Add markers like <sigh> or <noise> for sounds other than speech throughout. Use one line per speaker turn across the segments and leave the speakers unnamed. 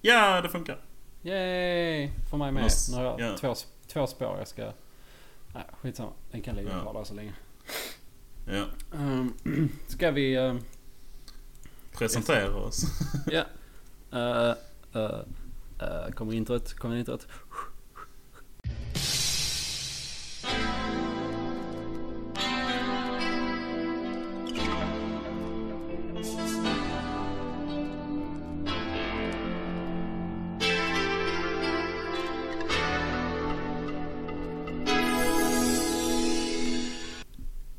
Ja, det funkar.
Yay! Får mig med.
Måste-
Nu har jag
ja.
två, två spår jag ska... Nej, skitsamma. Den kan ligga
Ja.
kvar där så länge.
Ja.
Ehm, <clears throat> ska vi... ehm,
Presentera oss.
<laughs> Ja. Eh, eh, eh, kommer introt, kommer introt.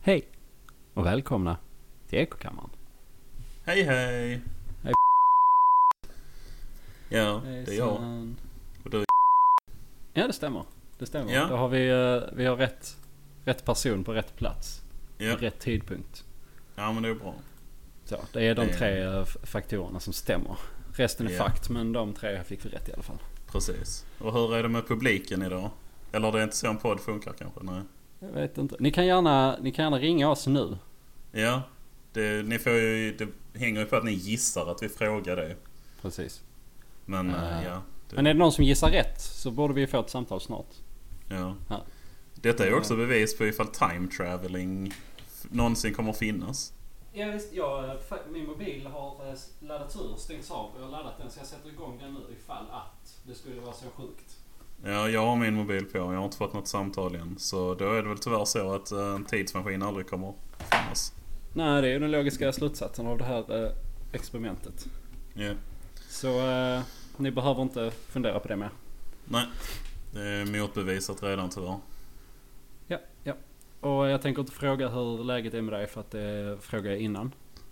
Hej och välkomna till Ekokammaren.
Hej hej!
Hej.
Ja, det är jag. Och du är
Ja det stämmer. Det stämmer.
Ja.
Då har vi, eh, vi har rätt, rätt person på rätt plats.
Ja,
Rätt tidpunkt.
ja men det är bra.
Så, det är de
Det är-
tre eh, f- faktorerna som stämmer. Resten är
Ja.
fakt men de tre fick vi rätt i alla fall.
Precis. Och hur är det med publiken idag? Eller det är inte så en podd funkar kanske? Nej.
Jag vet inte. Ni kan gärna, ni kan gärna ringa oss nu.
Ja. Det, ni får ju, det hänger ju på att ni gissar att vi frågar det.
Precis.
Men eh,
Ah.
ja. Det,
Men är det någon som gissar rätt så borde vi få ett samtal snart.
ja.
Ja.
Detta är ju också bevis på ifall time traveling f- någonsin kommer att finnas.
Ja, visst, jag, eh, min mobil har eh, laddats ur, stängts av och jag har laddat den så jag sätter igång den nu ifall att det skulle vara så sjukt.
Ja, jag har min mobil på. Jag har inte fått något samtal än. Så då är det väl tyvärr så att eh, en tidsmaskin aldrig kommer att finnas.
Nej, det är ju den logiska slutsatsen av det här eh, experimentet.
Ja.
Så eh, ni behöver inte fundera på det mer.
Nej. Det är motbevisat redan tyvärr.
Ja, ja. Och jag tänker inte fråga hur läget är med dig för att det frågade jag innan.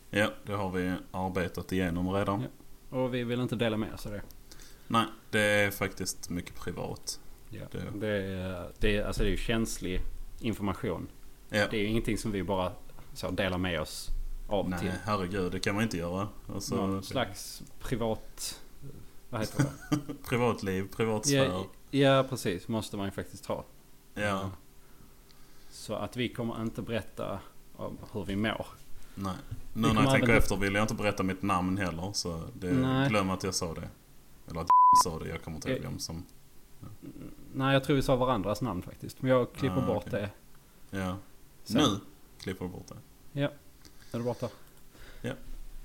Ja, det har vi arbetat igenom redan.
Ja. Och vi vill inte dela med oss av det.
Nej, det är faktiskt mycket privat.
Ja.
Det-
Det, är, det, är, alltså det är ju känslig information.
Ja.
Det är ju ingenting som vi bara så, delar med oss av
Nej,
till.
herregud, det kan man inte göra. Alltså,
Någon slags privat... Vad heter
<laughs>
det?
Privatliv, privatsfär.
ja, ja, precis. Måste man ju faktiskt ha.
ja,
Så att vi kommer inte berätta om hur vi mår.
nej.
Vi
Nu när
kommer
jag tänker
även-
efter vill jag inte berätta mitt namn heller. Så det,
Nej.
glöm att jag sa det. Eller att sa det, jag kommer inte ihåg
Ja.
vem som...
Mm, Nej, jag tror vi sa varandras namn faktiskt. Men jag klipper
Ah,
bort
okej.
det.
Ja.
Sen.
Nu klipper du bort det.
Är det borta?
Ja.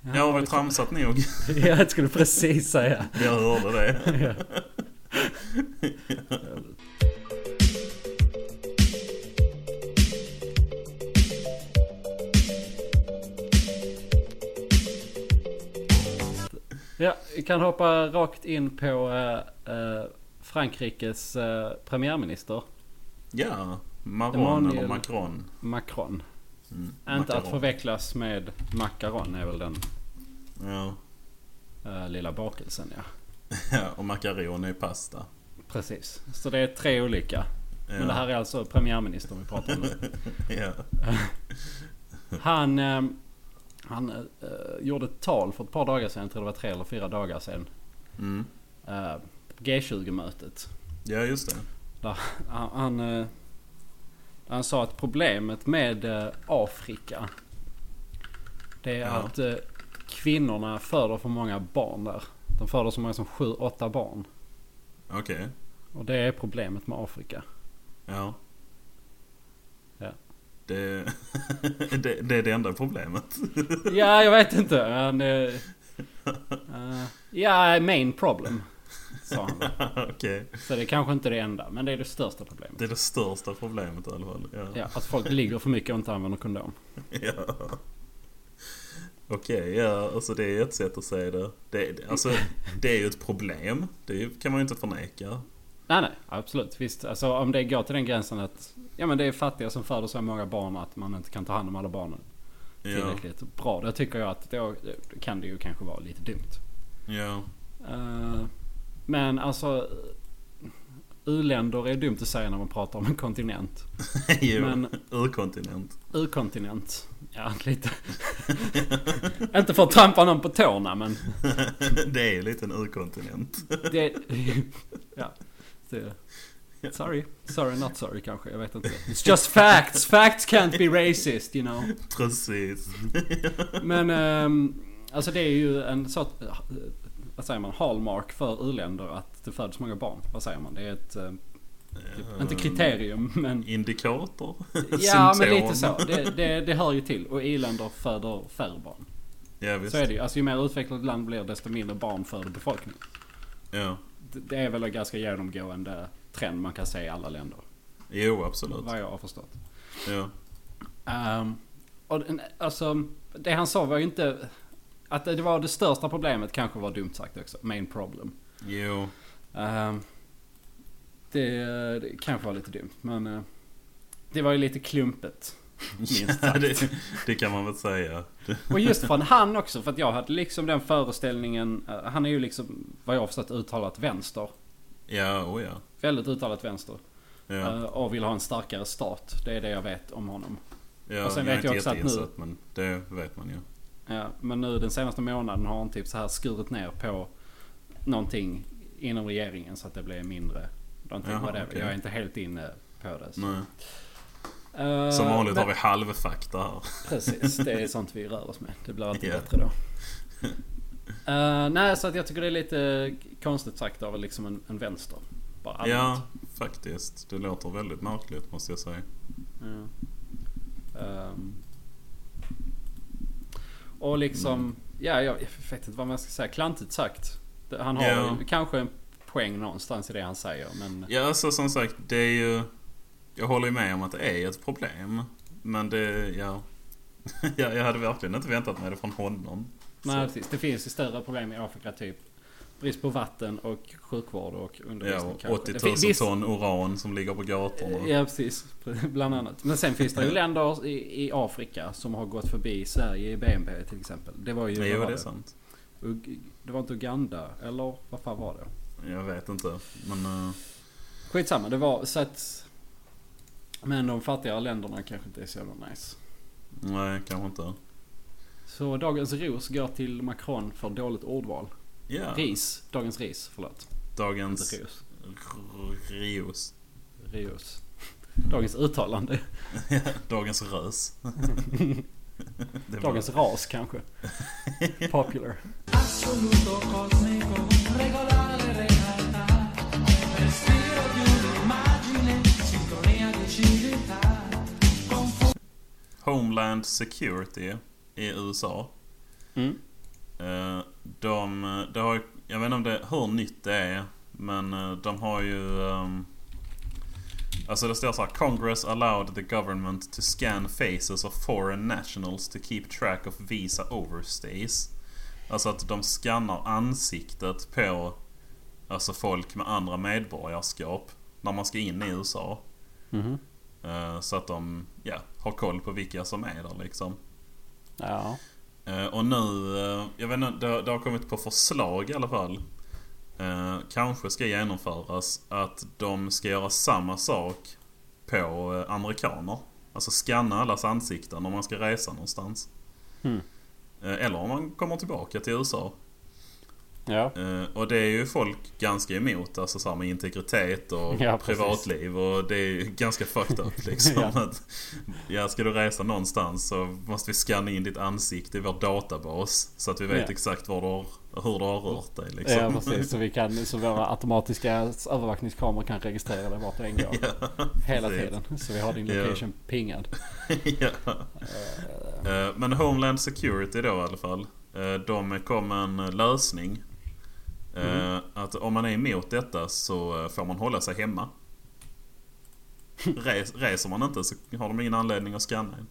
Ja,
Jag har väl
vi-
tramsat nog.
<laughs>
<laughs>
ja, jag skulle precis säga.
Jag hörde det.
Ja. Ja, vi kan hoppa rakt in på eh, eh, Frankrikes eh, premiärminister
Ja, Maron
Emanuel.
eller Macron.
Macron.
Mm,
Inte att
Macaron.
förväxlas med Macaron är väl den
Ja. <laughs>
eh, lilla bakelsen ja.
Ja, och makaron är pasta.
Precis. Så det är tre olika.
Ja.
Men det här är alltså premiärministern vi pratar om nu.
ja.
Han, eh, han eh, gjorde ett tal för ett par dagar sedan, jag tror det var tre eller fyra dagar sedan.
Mm.
Eh, G20-mötet.
ja, just det.
Han, han, eh, han sa att problemet med eh, Afrika. Det är
Ja.
att eh, kvinnorna föder för många barn där. De föder så många som sju, åtta barn.
Okej.
Och det är problemet med Afrika.
Ja.
Ja.
Det, <laughs> det, det är det enda problemet. <laughs>
Ja, jag vet inte. Han, eh, eh, ja, main problem. Sa han.
Okej.
Så det är kanske inte det enda, men det är det största problemet.
Det är det största problemet i alla fall. Ja.
Ja, att folk ligger för mycket och inte använder kondom.
<laughs> Ja. Okej, ja. Alltså det är ett sätt att säga det. Det, det-
<laughs>
alltså, det är ju ett problem. Det kan man ju inte förneka.
Nej, nej, absolut. Visst, alltså om det går till den gränsen att ja, men det är fattiga som föder så många barn att man inte kan ta hand om alla barnen
Ja.
tillräckligt bra. Då tycker jag att då kan det ju kanske vara lite dumt.
Ja. <laughs>
Eh, men alltså, u-länder är dumt att säga när man pratar om en kontinent.
Jo.
Men-
Urkontinent. <laughs>
U-kontinent. Ja, lite. <laughs> inte för att trampa någon på tårna, men
det är lite en urkontinent.
det... <laughs> ja. Det, sorry. Sorry, not sorry kanske. Jag vet inte. It's just facts. Facts can't be racist, you know.
Precis.
Men, ehm, alltså det är ju en sort... vad säger man, hallmark för uländer att det föds många barn. Vad säger man? Det är ett, eh, typ, inte kriterium men...
Eh, Indikator?
Ja
<laughs>
men
Mm. Symptom.
lite så. Det, det, det hör ju till. Och i-länder föder färre barn.
Ja, visst.
Så är det ju. Alltså ju mer utvecklat ett land blir desto mindre barn föder befolkningen.
Ja.
Det- Det är väl en ganska genomgående trend man kan se i alla länder.
Jo, absolut.
Vad jag har förstått.
Ja.
Ehm, och, den- alltså, det han sa var ju inte... Att det var det största problemet kanske var dumt sagt också. Main problem.
Jo.
Ehm, det, det kanske var lite dumt men... eh, det var ju lite klumpet. Minst
Ja,
sagt.
det, det kan man väl säga.
Och just från han också för att jag hade liksom den föreställningen. eh, han är ju liksom vad jag har förstått uttalat vänster.
Ja, oh ja.
Väldigt uttalat vänster.
Ja,
Eh, och vill ha en starkare stat. Det är det jag vet om honom.
ja
och sen
jag
vet
är
jag
inte
också att nu-
jätteinsatt men det vet man ju.
Ja, men nu den senaste månaden har han typ så här skurit ner på någonting inom regeringen så att det blir mindre. Någonting
Jaha,
whatever.
okej.
Jag är inte helt inne på det. så.
Nej.
Eh,
Som vanligt
men-
har vi halvfakta här.
<laughs> Precis, det är sånt vi rör oss med. Det blir alltid
Ja. <laughs>
bättre då. Eh, nej, så att jag tycker det är lite konstigt sagt av liksom en, en vänster. Bara
Ja,
allmänt.
faktiskt. Det låter väldigt märkligt måste jag säga.
Ja. Ehm. och liksom, ja jag jag vet inte vad man ska säga. Klantigt sagt. Det- Han har
Ja.
ju kanske en poäng någonstans i det han säger. Men
Ja, alltså som sagt, det är ju... Jag håller ju med om att det är ett problem. Men det, ja... <laughs> ja jag hade verkligen inte väntat mig det från honom.
nej,
Så,
precis, det finns ju större problem i Afrika. Typ brist på vatten och sjukvård och undervisning.
ja,
kanske.
80
Det
000
fin- visst-
ton uran som ligger på gatorna.
Ja precis, <laughs> bland annat. Men sen finns det ju länder i, i Afrika som har gått förbi Sverige i BNP till exempel. Det var ju...
Jo,
vad var
det är sant.
Ug- det var inte Uganda, eller vad fan var det?
Jag vet inte. Men... eh,
Skitsamma, det var så att... Men de fattigare länderna kanske inte är så jävla nice.
nej, kanske inte.
Så dagens ros går till Macron för dåligt ordval.
Ja,
Ris, dagens ris, förlåt.
dagens...
Inte ros.
r- Rios. <laughs>
Rios. Dagens uttalande.
Dagens rös. <laughs> Det är bra.
Dagens
<laughs>
ras kanske. Popular.
Assoluto cosmico, regolare realtà, respiro di un'immagine, sintonia di civiltà,
Homeland Security i USA.
Mm.
Eh, De, det har, jag vet inte om det, hur nytt det är. Men eh, de har ju... ehm, Alltså det står så här. Congress allowed the government to scan faces of foreign nationals to keep track of visa overstays. Alltså att de skannar ansiktet på alltså folk med andra medborgarskap när man ska in i USA.
Mhm.
Eh, Så att de ja, har koll på vilka som är där liksom.
Ja.
Eh, Och nu, eh, jag vet inte, det har, det har kommit på förslag i alla fall. Eh, Kanske ska genomföras att de ska göra samma sak på eh, amerikaner. Alltså skanna allas ansikten om man ska resa någonstans.
Hmm.
Eh, Eller om man kommer tillbaka till USA.
Ja.
Eh, Och det är ju folk ganska emot, alltså så här med integritet och
<laughs> Ja, precis.
privatliv och det är ju ganska fucked
<laughs>
up liksom.
Ja.
ja. Att, ja, ska du resa någonstans så måste vi scanna in ditt ansikte i vår databas så att vi vet
Ja.
exakt var du har, hur du har rört dig liksom.
Ja precis, så, vi kan, så våra automatiska övervakningskameror kan registrera dig vart du
<laughs>
än går. hela
precis.
tiden. Så vi har din
Ja.
location
<laughs>
pingad.
<laughs> ja. Eh, Men Homeland Security då i alla fall. eh, De kom med en lösning. Eh,
Mm.
Att om man är emot detta så eh, får man hålla sig hemma. Res, reser man inte så har de ingen anledning att scanna en.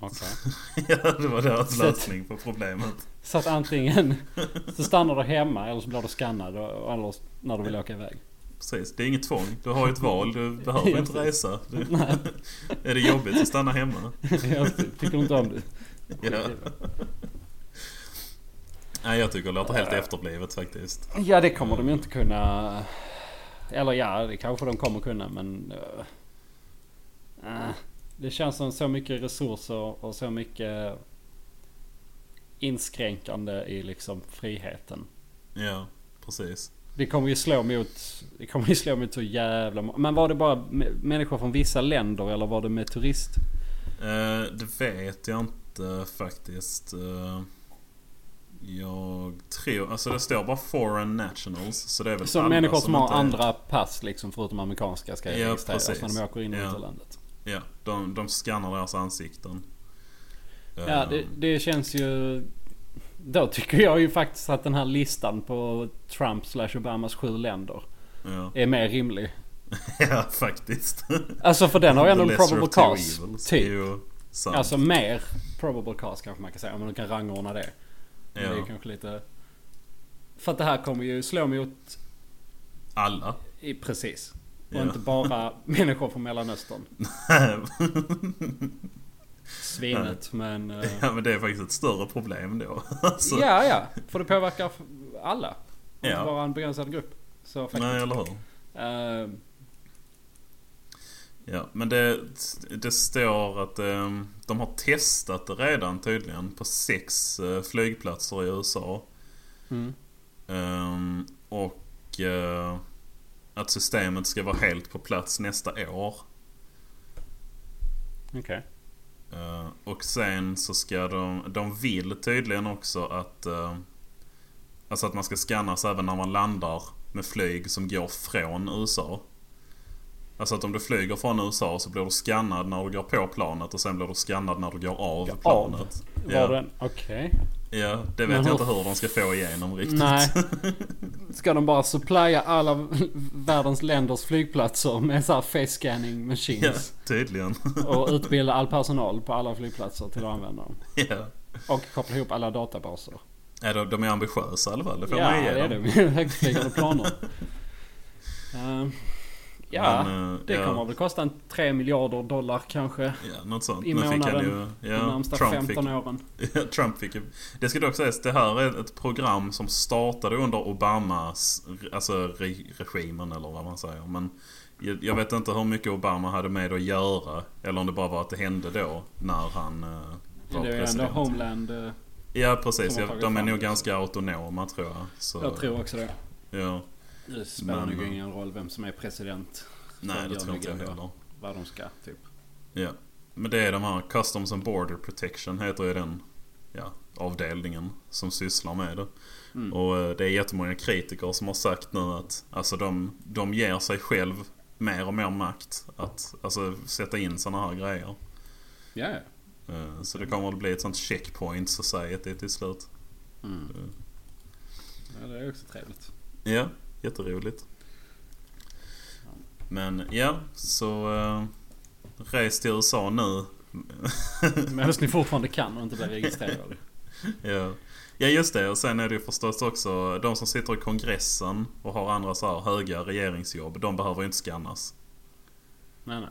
<laughs>
Okay.
Ja, det var deras
Så-
lösning på problemet.
Så att antingen så stannar du hemma eller så blir du skannad och- eller när du vill åka iväg.
Precis, det är inget tvång. Du har ju ett val. Du behöver
Ja,
inte
precis.
resa. Du, är det jobbigt så stanna hemma.
Jag tycker du inte om det?
Ja. Nej, jag tycker det låter helt efterblivet faktiskt.
Ja det kommer de ju inte kunna. Eller ja det kanske de kommer kunna men. eh, eh, det känns som så mycket resurser och så mycket inskränkande i liksom friheten.
Ja, precis.
Det kommer ju slå mot... Det kommer ju slå mot så jävla... må- Men var det bara m- människor från vissa länder eller var det med turist?
Eh, det vet jag inte faktiskt. Eh, Jag tror... Alltså det står bara foreign nationals. Så det är väl
Så
alla
människor som, har
inte är-
andra pass liksom förutom amerikanska ska
Ja,
registreras
precis.
när de åker in och
Ja.
ut ur landet.
Ja, de, de skannar deras ansikten.
Ja, det, det känns ju... Då tycker jag ju faktiskt att den här listan på Trump slash Obamas sju länder
Eh, Ja, <laughs>
är mer rimlig.
ja faktiskt.
Alltså för den har ju ändå
The
en
lesser
probable
of two
cause.
evils.
Typ.
Jo, sant.
Alltså mer probable cause kanske man kan säga. Om man kan rangordna det. Men Det är
ja.
ju kanske lite... För att det här kommer ju slå mot...
Alla.
I, precis. Och
Ja.
inte bara människor från Mellanöstern. Svinet men... eh,
<laughs> ja, men det är faktiskt ett större problem då. <laughs> Alltså,
Ja, ja. För det påverkar f- alla.
Ja.
Inte bara en begränsad grupp. Så faktiskt.
Nej, eller hur?
Eh,
Ja, men det, det står att ehm, de har testat det redan tydligen på sex eh, flygplatser i USA.
mm.
Ehm, och eh, att systemet ska vara helt på plats nästa år.
Okej.
Eh, och sen så ska de, de vill tydligen också att eh, Alltså att man ska skannas även när man landar med flyg som går från USA. Alltså att om du flyger från USA så blir du skannad när du går på planet och sen blir du skannad när du går av
Går av?
planet.
Var
Ja.
du än... Okej.
Ja, det
Men
vet
hur-
jag inte hur de ska få igenom riktigt. <laughs>
Nej. Ska de bara supplya alla världens länders flygplatser med så här face scanning
Ja,
machines?
tydligen. <laughs>
Och utbilda all personal på alla flygplatser till att använda dem.
ja.
Och koppla ihop alla databaser.
Ja, de, de är ambitiösa i alla fall. Det får
Ja,
man
det <laughs>
ge
är
dem.
de. Högtflygande
<laughs>
planer. Eh, ja,
Men, eh,
det
ja.
kommer väl kosta en 3 miljarder dollar kanske.
Ja, något sånt.
I
Nu fick han
månaden.
ju...
de
Ja,
närmsta
Trump
15
fick,
åren.
Ja, <laughs> Trump fick ju... Det ska dock sägas, det här är ett program som startade under Obamas alltså, re, regimen eller vad man säger. Men jag, jag vet inte hur mycket Obama hade med att göra. Eller om det bara var att det hände då när han eh, var
Det är ju ändå
president.
Homeland. eh,
ja, precis.
som har
Ja,
tagit
de är
fram
nog
det.
ganska autonoma tror jag. Så,
Jag tror också det.
Ja.
Det spelar
Men,
nog
eh,
ingen roll vem som är president.
Nej,
De
det
gör
tror inte jag
nog ändå.
heller.
Vad de ska, typ.
Ja. Men det är de här Customs and Border Protection heter ju den ja, avdelningen som sysslar med det.
Mm.
Och eh, det är jättemånga kritiker som har sagt nu att alltså, de, de ger sig själv mer och mer makt att alltså, sätta in sådana här grejer.
Ja, ja.
Eh, Så det kommer att bli ett sånt checkpoint society till slut.
Mm.
Mm.
ja. Det är också trevligt.
Ja, jätteroligt. Men ja, så eh, res till USA nu.
<laughs>
Mm.
Medan ni fortfarande kan och inte blir registrerade.
<laughs> Ja. ja, just det. Och sen är det ju förstås också de som sitter i kongressen och har andra så här höga regeringsjobb. De behöver ju inte skannas.
Nej, nej.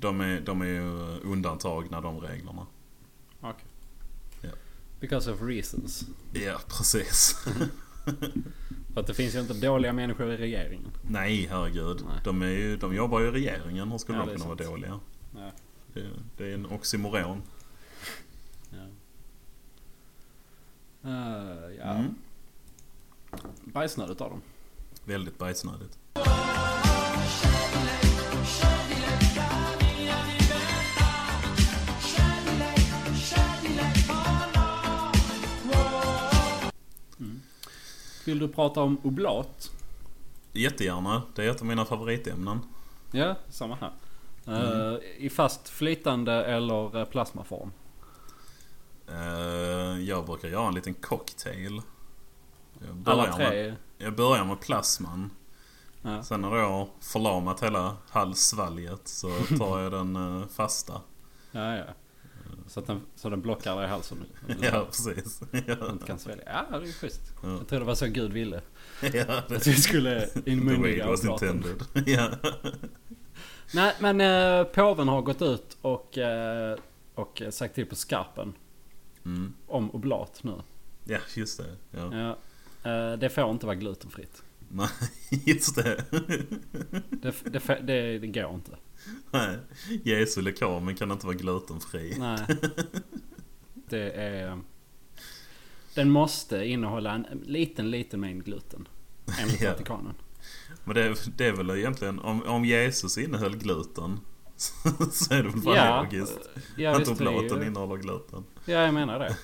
De är, de är ju undantagna de reglerna.
Okej.
Ja.
Because of reasons.
Ja, precis.
För att det finns ju inte dåliga människor i regeringen.
<laughs> Nej, herregud.
Nej.
De, är ju, de jobbar ju i regeringen. Hur skulle
Ja, det
de
är
kunna vara
sant.
dåliga?
Ja.
Det, det är en oxymoron.
Ja. Eh, ja.
Mm.
Bajsnödigt av dem.
Väldigt bajsnödigt.
Vill du prata om oblat?
Jättegärna. Det är ett av mina favoritämnen.
Ja, samma här. Eh, I fast flytande eller eh, plasmaform.
Eh, jag brukar göra en liten cocktail. Jag börjar,
Alla
Med,
tre.
jag börjar med plasman.
Ja.
Sen har jag förlamat hela halssvalget så tar jag den eh, fasta.
Ja, ja. Så, att den, så den blockar dig i halsen.
<laughs> Ja, precis. <laughs>
Du
Ja,
inte kan svälja. Ja, det är ju schysst.
Ja.
Jag tror det var så
<laughs>
Gud ville.
ja.
Att vi skulle
The way it
inmundiga
was
oblaten.
intended. <laughs> Ja.
Nej, men eh, påven har gått ut och, eh, och eh, sagt till på skarpen
Mm.
om oblat nu.
ja, just det. <laughs> Ja.
Ja. Eh, det får inte vara glutenfritt.
Nej, just det. <laughs>
Det, f- det, f- det, det går inte.
Nej. Jesu lekamen kan inte vara glutenfri.
Nej. <laughs> Det är... Den måste innehålla en liten, liten mängd gluten. Enligt
Ja.
Vatikanen.
Men det, är- det är väl egentligen, om, om Jesus innehöll gluten <laughs> så är det väl bara logiskt.
ja,
att
visst, det är
oblaten <laughs>
ju-
innehåller gluten.
Ja, jag menar det.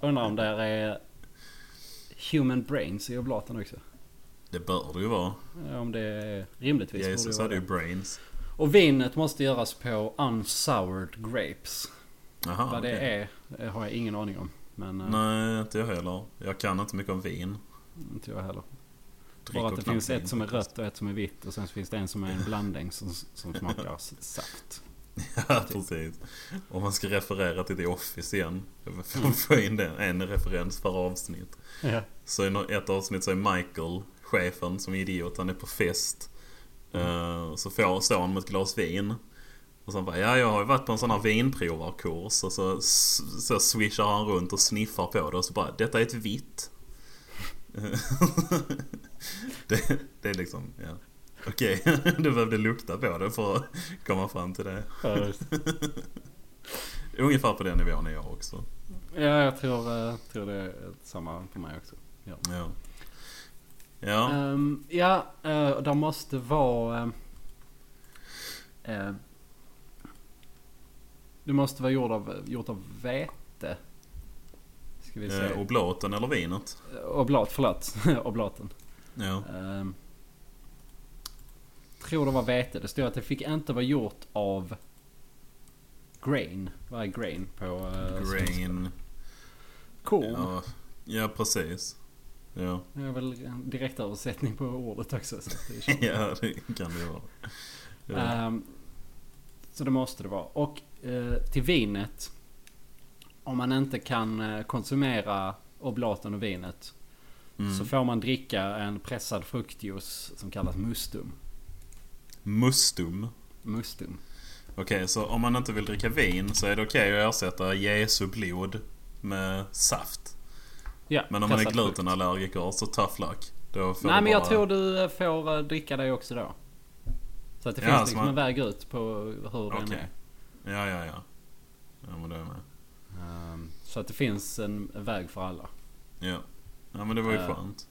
Undrar om där är Human Brains i oblaten också.
Det bör det ju vara.
Ja, Om det är rimligtvis. borde
Jesus
det vara
hade ju
det.
brains.
Och vinet måste göras på unsoured grapes.
Jaha,
Vad det
Ah, okej.
är eh, har jag ingen aning om. Men eh,
Nej, inte jag heller. Jag kan inte mycket om vin.
inte jag heller.
Dricker
Bara att det
knappt
finns ett
vin,
som är
faktiskt.
rött och ett som är vitt. Och sen så finns det en som är en blandning som, som smakar
<laughs>
s- saft.
Ja, precis. Om man ska referera till The Office igen. För att få in den, en referens per avsnitt.
Ja.
Så i nå- ett avsnitt så är Michael, chefen, som är idiot. Han är på fest. Eh, så får, står han med ett glas vin. Och sen bara, ja jag har ju varit på en sån här vinprovarkurs. Och så, s- så swishar han runt och sniffar på det och så bara, detta är ett vitt. <laughs> Eh, det, det är liksom, ja. Okej, <laughs> du behövde lukta på det för att komma fram till det.
Ja, just.
<laughs> Ungefär på den nivån är jag också.
ja, jag tror, eh, tror det är samma på mig också.
Ja. Ja.
Ehm, ja, uh, där måste vara... ehm, eh, det måste vara gjort av, gjort av vete. Ska vi
Eh,
se.
oblaten eller vinet.
Oblat, förlåt. <laughs> Oblaten.
Ja.
Ehm, tror det var vete. Det står att det fick inte vara gjort av grain. Vad är grain på eh, svenska?
Grain.
Korn.
Ja, ja precis. Ja. <laughs>
Det är väl en direktöversättning på ordet också. Så att det känns-
ja, det kan det vara. Ja.
Ehm, så det måste det vara. Och eh, till vinet. Om man inte kan eh, konsumera oblaten och vinet. Så
Mm.
får man dricka en pressad fruktjuice som kallas mustum.
Mustum.
Mustum.
Okej, så om man inte vill dricka vin så är det okej att ersätta Jesu blod med saft.
Ja,
Men om man är
pressad frukt.
glutenallergiker så tough luck. Då får
Nej
du
men jag
bara...
tror du eh, får eh, dricka det också då. Så att det
Ja,
finns
så
liksom
man-
en väg ut på hur den är.
Okej. Ja, ja, ja. Ja, men det är jag med.
Ehm, så att det finns en väg för alla.
Ja. Ja, men det var ju
Ja.
skönt.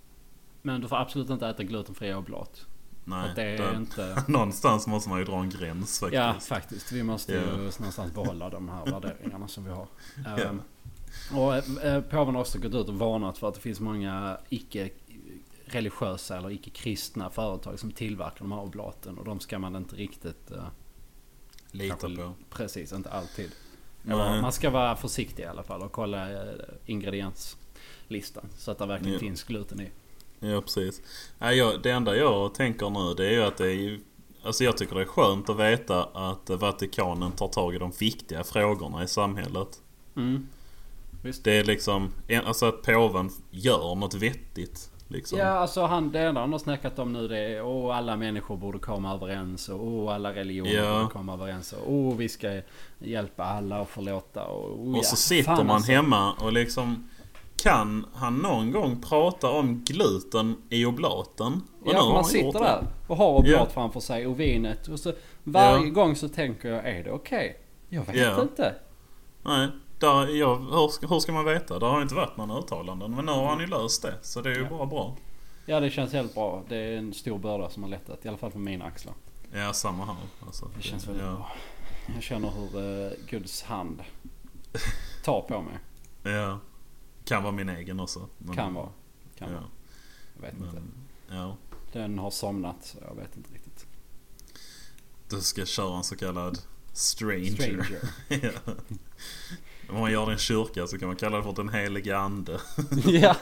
Men du får absolut inte äta glutenfria oblat. För
Nej.
att det är
då-
inte...
Någonstans måste man ju dra en gräns <laughs> faktiskt.
Ja, faktiskt. Vi måste ju
Ja.
någonstans behålla
<laughs>
de här värderingarna som vi har.
Ja.
Ehm, och eh, påven har också gått ut och varnat för att det finns många icke religiösa eller icke-kristna företag som tillverkar de här oblaten. Och de ska man inte riktigt... eh,
Lita
kanske-
på.
Precis, inte alltid.
Nej.
Eller, man ska vara försiktig i alla fall och kolla eh, ingredienslistan. Så att det verkligen
Ja.
finns gluten i.
Ja precis. Nej, jag, det enda jag tänker nu det är ju att det är ju, Alltså jag tycker det är skönt att veta att Vatikanen tar tag i de viktiga frågorna i samhället.
Mm. Visst.
Det är liksom... en- Alltså att påven gör något vettigt. Liksom.
Ja, alltså han, det enda han har snackat om nu det är åh, alla människor borde komma överens och åh, alla religioner
Ja.
borde komma överens och åh, vi ska hjälpa alla och förlåta och, åh, ja.
Och så sitter
Fan,
man
alltså.
hemma och liksom... Kan han någon gång prata om gluten i oblaten? Och nu
Ja, för
har
man
han
sitter
gjort det.
där och har oblat
Ja.
framför sig och vinet och så varje
Ja.
gång så tänker jag, är det okej? Jag vet
Ja.
inte.
Nej, där, ja, hur, ska- hur ska man veta? Det har inte varit några uttalanden. Men nu har han ju löst det. Så det är ju
Ja.
bara bra.
Ja, det känns helt bra. Det är en stor börda som har lättat, i alla fall på mina axlar.
Ja, samma här. Alltså,
Det känns väldigt
ja.
bra. Jag känner hur uh, Guds hand tar
<laughs>
på mig.
Ja. Kan vara min egen också. Men,
Kan vara. Kan
ja,
vara. Jag vet inte.
men, ja.
Den har somnat, så jag vet inte riktigt.
Du ska köra en så kallad stranger.
Stranger.
<laughs> ja. Om man gör det i en kyrka så kan man kalla det för den helige ande.
ja.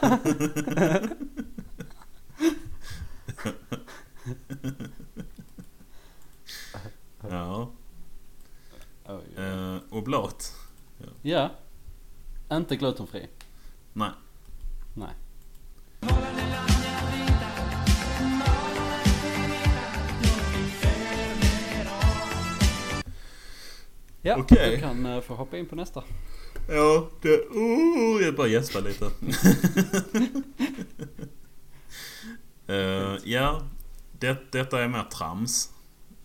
<laughs> Ja. Eh, oblat.
ja. Inte glutenfri.
Nej.
Nej. Ja,
Okej.
du kan eh, få hoppa in på nästa.
Ja, det... Oh, jag bara gäspar
<laughs>
lite. Eh, ja, det, detta är mer trams.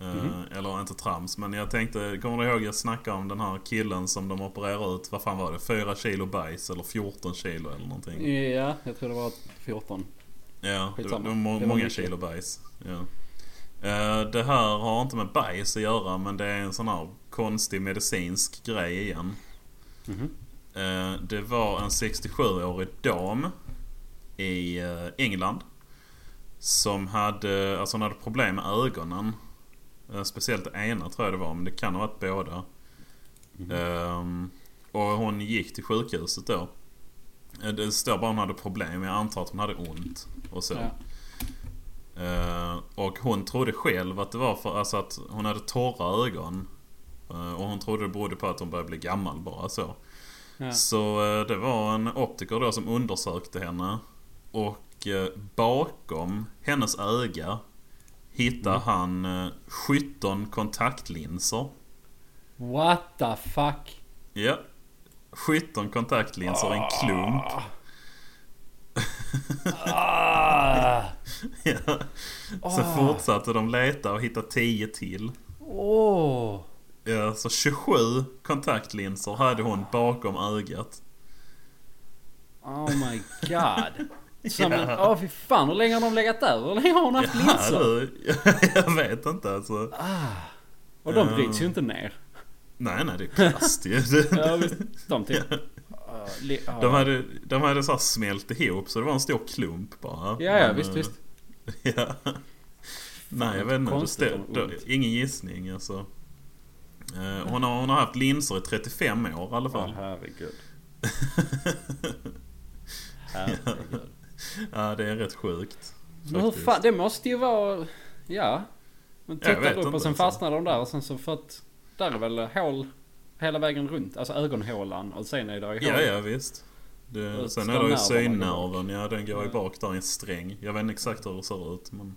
Eh,
Mhm.
Eller inte trams, men jag tänkte... Kommer du ihåg jag snackade om den här killen som de opererar ut? Vad fan var det? 4 kilo bajs eller 14 kilo eller någonting?
Ja, jag tror det var 14.
Ja, det var,
Skitsamma.
det var må-
Det var
många
mycket.
kilo bajs. Ja. Eh, det här har inte med bajs att göra men det är en sån här konstig medicinsk grej igen.
Mhm.
Eh, Det var en 67-årig dam i eh, England. Som hade, alltså hon hade problem med ögonen. Eh, Speciellt det ena tror jag det var, men det kan ha varit båda. Ehm, och hon gick till sjukhuset då. Eh, Det står bara hon hade problem, jag antar att hon hade ont och så.
Ja.
Eh, och hon trodde själv att det var för alltså att hon hade torra ögon. Eh, och hon trodde det berodde på att hon började bli gammal bara så.
Ja.
Så eh, det var en optiker då som undersökte henne. Och eh, bakom hennes öga hittade
Mm.
han eh, 17 kontaktlinser.
What the fuck?
Ja. 17 kontaktlinser i en klump. <laughs>
Ah.
Ja. Så
Ah.
fortsatte de leta och hittade 10 till.
Åh!
Ja, så 27 kontaktlinser hade hon bakom ögat.
Oh my god. Som en,
Ja.
åh fy fan, hur länge har de legat där? Hur länge har hon haft
Ja,
linser?
du, <laughs> jag vet inte alltså.
Och de bryts ju inte ner.
Nej, nej, det är plast ju. Det-
<laughs> Ja, visst, de typ...
Ja.
Ah, li-
<laughs>
ah.
De hade, de hade så här smält ihop så det var en stor klump bara.
Ja, ja,
Men,
visst,
eh,
visst.
<laughs> Ja. Nej, jag
vad
vet inte. Det
konstigt
stod,
om
då,
ont.
ingen gissning alltså. Eh, hon, har, hon har haft linser i 35 år i alla
Åh,
fall. <laughs>
herregud. Herregud.
Ja, det är rätt sjukt.
Men hur
faktiskt.
fan, det måste ju vara... Ja. Man
Ja, jag
tittar
vet
upp
inte,
och sen
alltså.
fastnar de där och sen så för att... Där är väl hål hela vägen runt? Alltså ögonhålan och sen är det ju
Ja,
hål.
ja visst. Det,
Och
sen
ska
är det ju
nerverna gå
synnerven, ja den går ju
Ja.
bak där i en sträng. Jag vet inte exakt hur det ser ut men...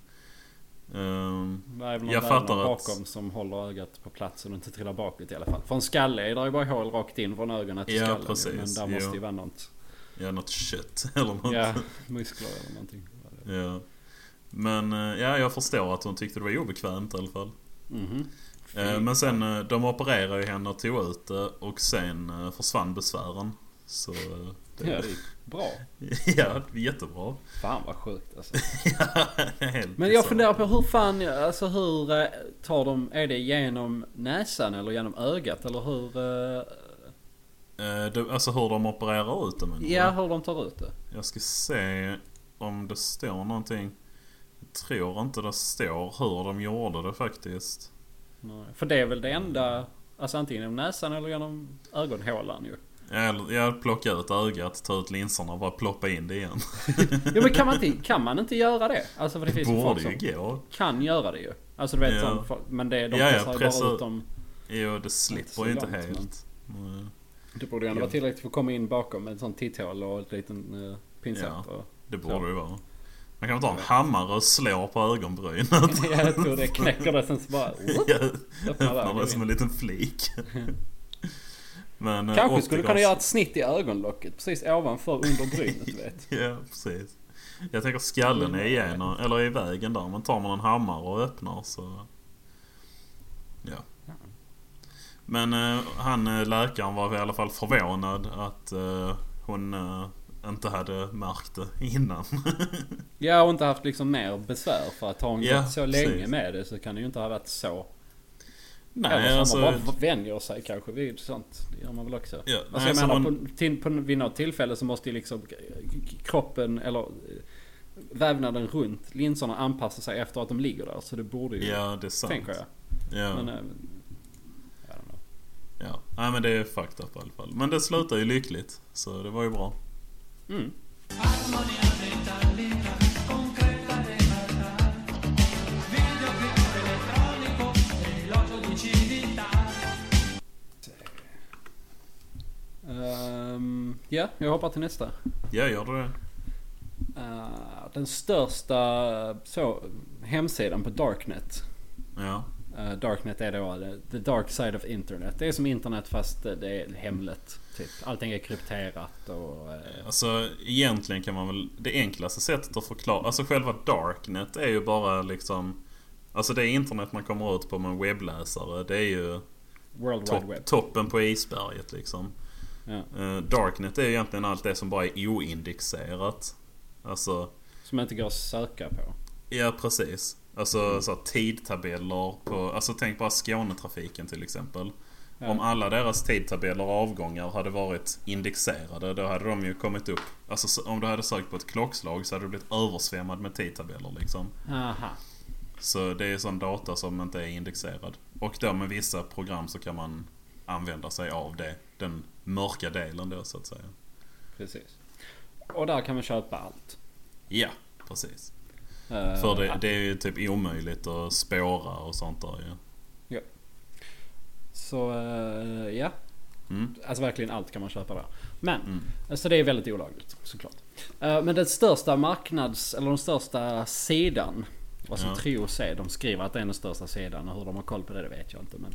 ehm,
Det är väl någon
Jag
vävnad
fattar att-
bakom som håller ögat på plats så du inte trillar bakåt i alla fall. För en skalle är det ju bara hål rakt in från ögonen till
Ja,
skallen. ju,
precis.
Men där
Jo.
måste ju vara något.
ja, något kött <laughs> eller något.
Ja, <laughs> muskler eller någonting.
Ja. Men eh, ja, jag förstår att hon tyckte det var obekvämt i alla fall.
Mhm.
Eh, Men sen, eh, de opererade ju henne och tog ut det och sen eh, försvann besvären. Så... eh,
Ja, det
Det,
är bra.
<laughs> ja, jättebra. <laughs>
Fan vad sjukt alltså.
Ja, helt
Men jag
så.
funderar på hur fan, alltså hur eh, tar de, är det genom näsan eller genom ögat eller hur? eh,
Eh, du- Alltså hur de opererar ut det menar du?
Ja, hur de tar ut det.
Jag ska se om det står någonting. Jag tror inte det står hur de gjorde det faktiskt.
Nej. För det är väl det enda, alltså antingen genom näsan eller genom ögonhålan ju.
Eller- Jag plockade ut ögat, ta ut linserna och bara ploppa in det igen.
Jo men kan man inte, kan man inte göra det? Alltså för det
<laughs>
finns ju folk
Borde
som
ju gå.
kan göra det ju. Alltså du vet
Ja.
sån folk- men det, de
Ja, ja,
pressar ju
pressa-
bara ut dem.
Jo, det
Inte så
slipper ju inte
långt, men-
helt. Nej.
Det borde ju ändå
Ja.
vara tillräckligt för att komma in bakom med en sån titthål och en liten uh, pincett.
Ja.
Och, <laughs>
Det borde det vara. Man kan ta en hammare och slå på
<laughs>
ögonbrynet.
jag tror det knäcker det sen så bara... Oh, whoop,
<laughs> Ja,
öppnar
Öppnar det
ögonen.
som en liten
<laughs>
flik. Men, eh,
Kanske skulle du kunna
optikers-
göra ett snitt i ögonlocket precis ovanför under
<laughs>
brynet du vet.
Ja, precis. Jag tänker skallen är igenom, eller i vägen där. Men tar man en hammare och öppnar så... Ja. Men eh, han eh, läkaren var i alla fall förvånad att eh, hon eh, inte hade märkt det innan.
<laughs>
<laughs>
Jag har inte haft liksom mer besvär för att har hon
Ja,
gått så
precis.
länge med det så kan det ju inte ha varit så. Eller
Nej,
så
alltså...
man bara vänjer sig kanske vid sånt. Det gör man väl också.
Ja,
alltså
nej,
jag
så
menar
man-
på, till, på, vid något tillfälle så måste ju liksom k- k- kroppen eller eh, vävnaden runt linserna anpassa sig efter att de ligger där. Så det borde ju...
Ja, det är sant.
tänker jag.
Ja.
Men, eh, I don't know.
Ja, nej men det är fucked up i alla fall. Men det slutade ju lyckligt, så det var ju bra.
Mm.
Armonia metallica, concreta di realtà. Videoclip elettronico, elogio di civiltà.
Ehm, ja, jag hoppar till nästa.
Ja, gör du det?
Eh, den största eh, så, hemsidan på Darknet.
Ja.
Eh, Darknet är då eh, the- the dark side of internet. Det är som internet fast eh, det är hemligt. Typ. Allting är krypterat och... eh,
Alltså egentligen kan man väl... Det enklaste sättet att förklara... Alltså själva Darknet är ju bara liksom... Alltså det internet man kommer ut på med en webbläsare. Det är ju
World Wide
topp,
Web.
toppen på isberget liksom.
Ja.
Eh, Darknet är ju egentligen allt det som bara är oindexerat. Alltså...
Som inte går att söka på.
Ja precis. Alltså så här, tidtabeller på... Alltså tänk bara Skånetrafiken till exempel.
Ja.
Om alla deras tidtabeller och avgångar hade varit indexerade då hade de ju kommit upp. Alltså så- om du hade sökt på ett klockslag så hade du blivit översvämmad med tidtabeller liksom.
Aha.
Så det är sån data som inte är indexerad. Och då med vissa program så kan man använda sig av det. Den mörka delen då så att säga.
Precis. Och där kan man köpa allt.
Ja, precis.
Eh,
För det, det är ju typ omöjligt att spåra och sånt där ju.
Så eh, ja,
Mm.
alltså verkligen allt kan man köpa där. Men,
Mm.
eh, så det är väldigt olagligt såklart. Eh, Men den största marknads, eller den största sidan, vad som
Ja.
tros är, de skriver att det är den största sidan och hur de har koll på det, det vet jag inte. Men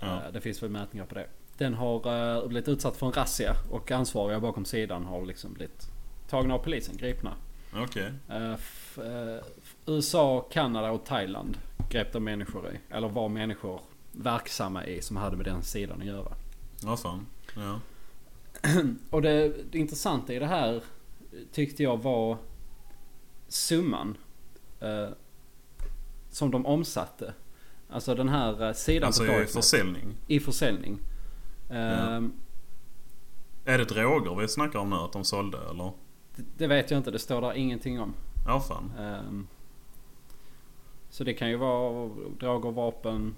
Ja.
eh, det finns väl mätningar på det. Den har eh, blivit utsatt för en razzia och ansvariga bakom sidan har liksom blivit tagna av polisen, gripna.
Okej.
Eh, f- eh, f- USA, Kanada och Thailand grep de människor i. Eller var människor verksamma i som hade med den sidan att göra.
Vad fan. Ja.
Och det, det intressanta i det här eh, tyckte jag var summan eh, som de omsatte. Alltså den här eh, sidan
Alltså
på
i
darknet
försäljning.
i försäljning. Ehm,
Är det droger vi snackar om nu att de sålde eller?
det, det vet jag inte, det står där ingenting om.
Ja fan.
Ehm, så det kan ju vara droger, vapen,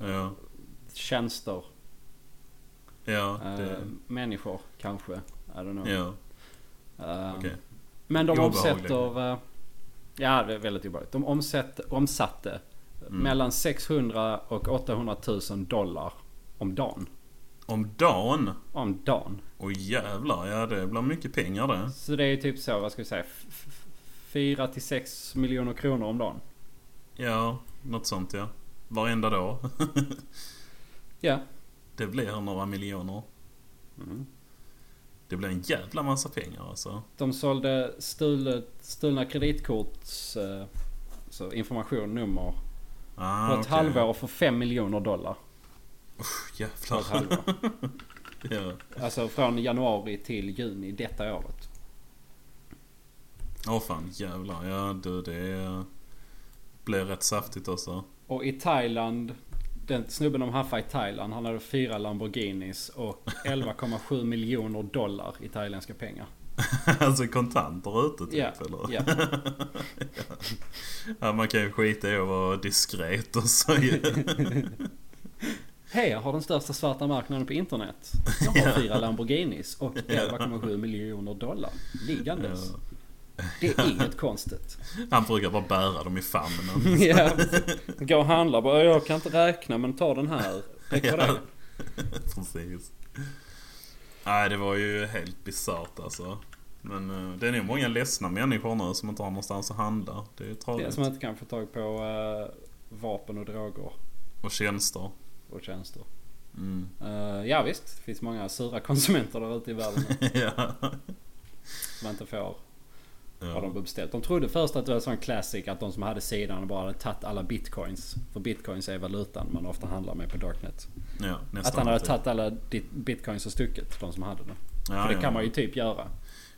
Ja.
tjänster,
Ja.
eh,
Det,
människor kanske. I don't know.
ja.
Ehm,
Okej.
Men de
Obehagligt.
omsätter... eh, Ja, det är väldigt obehagligt. De omsätt, omsatte
Mm.
mellan 600 och 800 000 dollar om dagen.
Om dagen.
Om dagen.
Åh jävlar. Ja det blir mycket pengar det.
Så det är ju typ så, vad ska vi säga? 4 till 6 miljoner kronor om dagen.
Ja. Något sånt ja. Varenda dag. <laughs>
Ja.
det blir några miljoner.
Mm.
Det blir en jävla massa pengar alltså.
De sålde stulet, stulna kreditkorts... eh, Så information, nummer.
Ah,
På ett
okej.
halvår för 5 miljoner dollar. På ett
Jävlar.
halvår.
<laughs> Ja.
Alltså från januari till juni detta året.
Åh fan jävlar. Ja du det eh, blir rätt saftigt alltså.
Och i Thailand, den snubben de haffade i Thailand, han hade fyra Lamborghinis och 11,7 miljoner dollar i thailändska pengar.
<laughs> alltså kontanter ute typ
Ja,
eller?
ja.
<laughs> ja. Man kan ju skita i att vara diskret och så
<laughs>
ju.
Hej, jag har den största svarta marknaden på internet. Jag har fyra Lamborghinis och 11,7 miljoner dollar liggandes. Det är inget konstigt.
<laughs> Han brukar bara bära dem i famnen.
<laughs>
<laughs>
Ja, gå och handla bara. Jag kan inte räkna men ta den här. Räcker det?
Precis. Nej det var ju helt bisarrt alltså. Men eh, det är nog många ledsna människor nu som inte har någonstans att handla. Det är ju
Det är
tragiskt.
som man inte kan få tag på eh, vapen och droger
Och tjänster.
och tjänster.
Mm. <laughs>
Eh, ja visst, det finns många sura <laughs> konsumenter där ute i världen nu
ja.
som inte får vad
Ja.
de beställt. De trodde först att det var en sån classic att de som hade sidan bara hade tagit alla bitcoins. För bitcoins är valutan man ofta handlar med på Darknet.
ja nästan.
att han hade
alltid.
tagit alla di- bitcoins och stucket, de som hade det.
Ja,
för det
ja,
kan
ja.
man ju typ göra.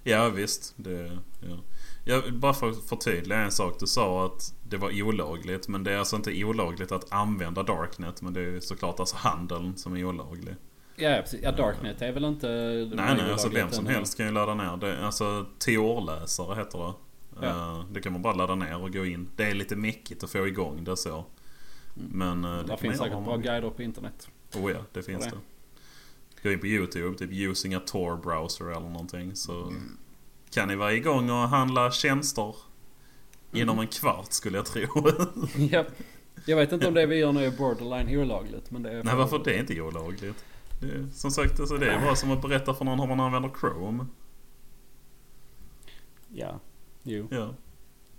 Ja visst. Det, ja. Jag vill bara för att förtydliga en sak. Du sa att det var olagligt. Men det är alltså inte olagligt att använda Darknet. Men det är ju såklart alltså handeln som är olaglig.
Ja, ja, precis. ja Darknet är väl inte...
nej nej, alltså vem som helst kan ju ladda ner det. Alltså Tor-läsare heter det.
Ja.
Eh, Det kan man bara ladda ner och gå in. Det är lite mäckigt att få igång det så. Men eh, det
Mm. Det
kan
finns
man göra
säkert
om
bra
man vill.
guider
<laughs>
på internet.
Oh ja, det finns
det.
det. Gå in på YouTube, typ using a Tor browser eller någonting så kan ni vara igång och handla tjänster inom en kvart skulle jag tro. <laughs>
ja. Jag vet inte om det vi gör nu är borderline olagligt. Men det är
Nej varför det är inte olagligt? Det är, som sagt, alltså, det är bara som att berätta för någon hur man använder Chrome.
Ja. Jo.
Ja.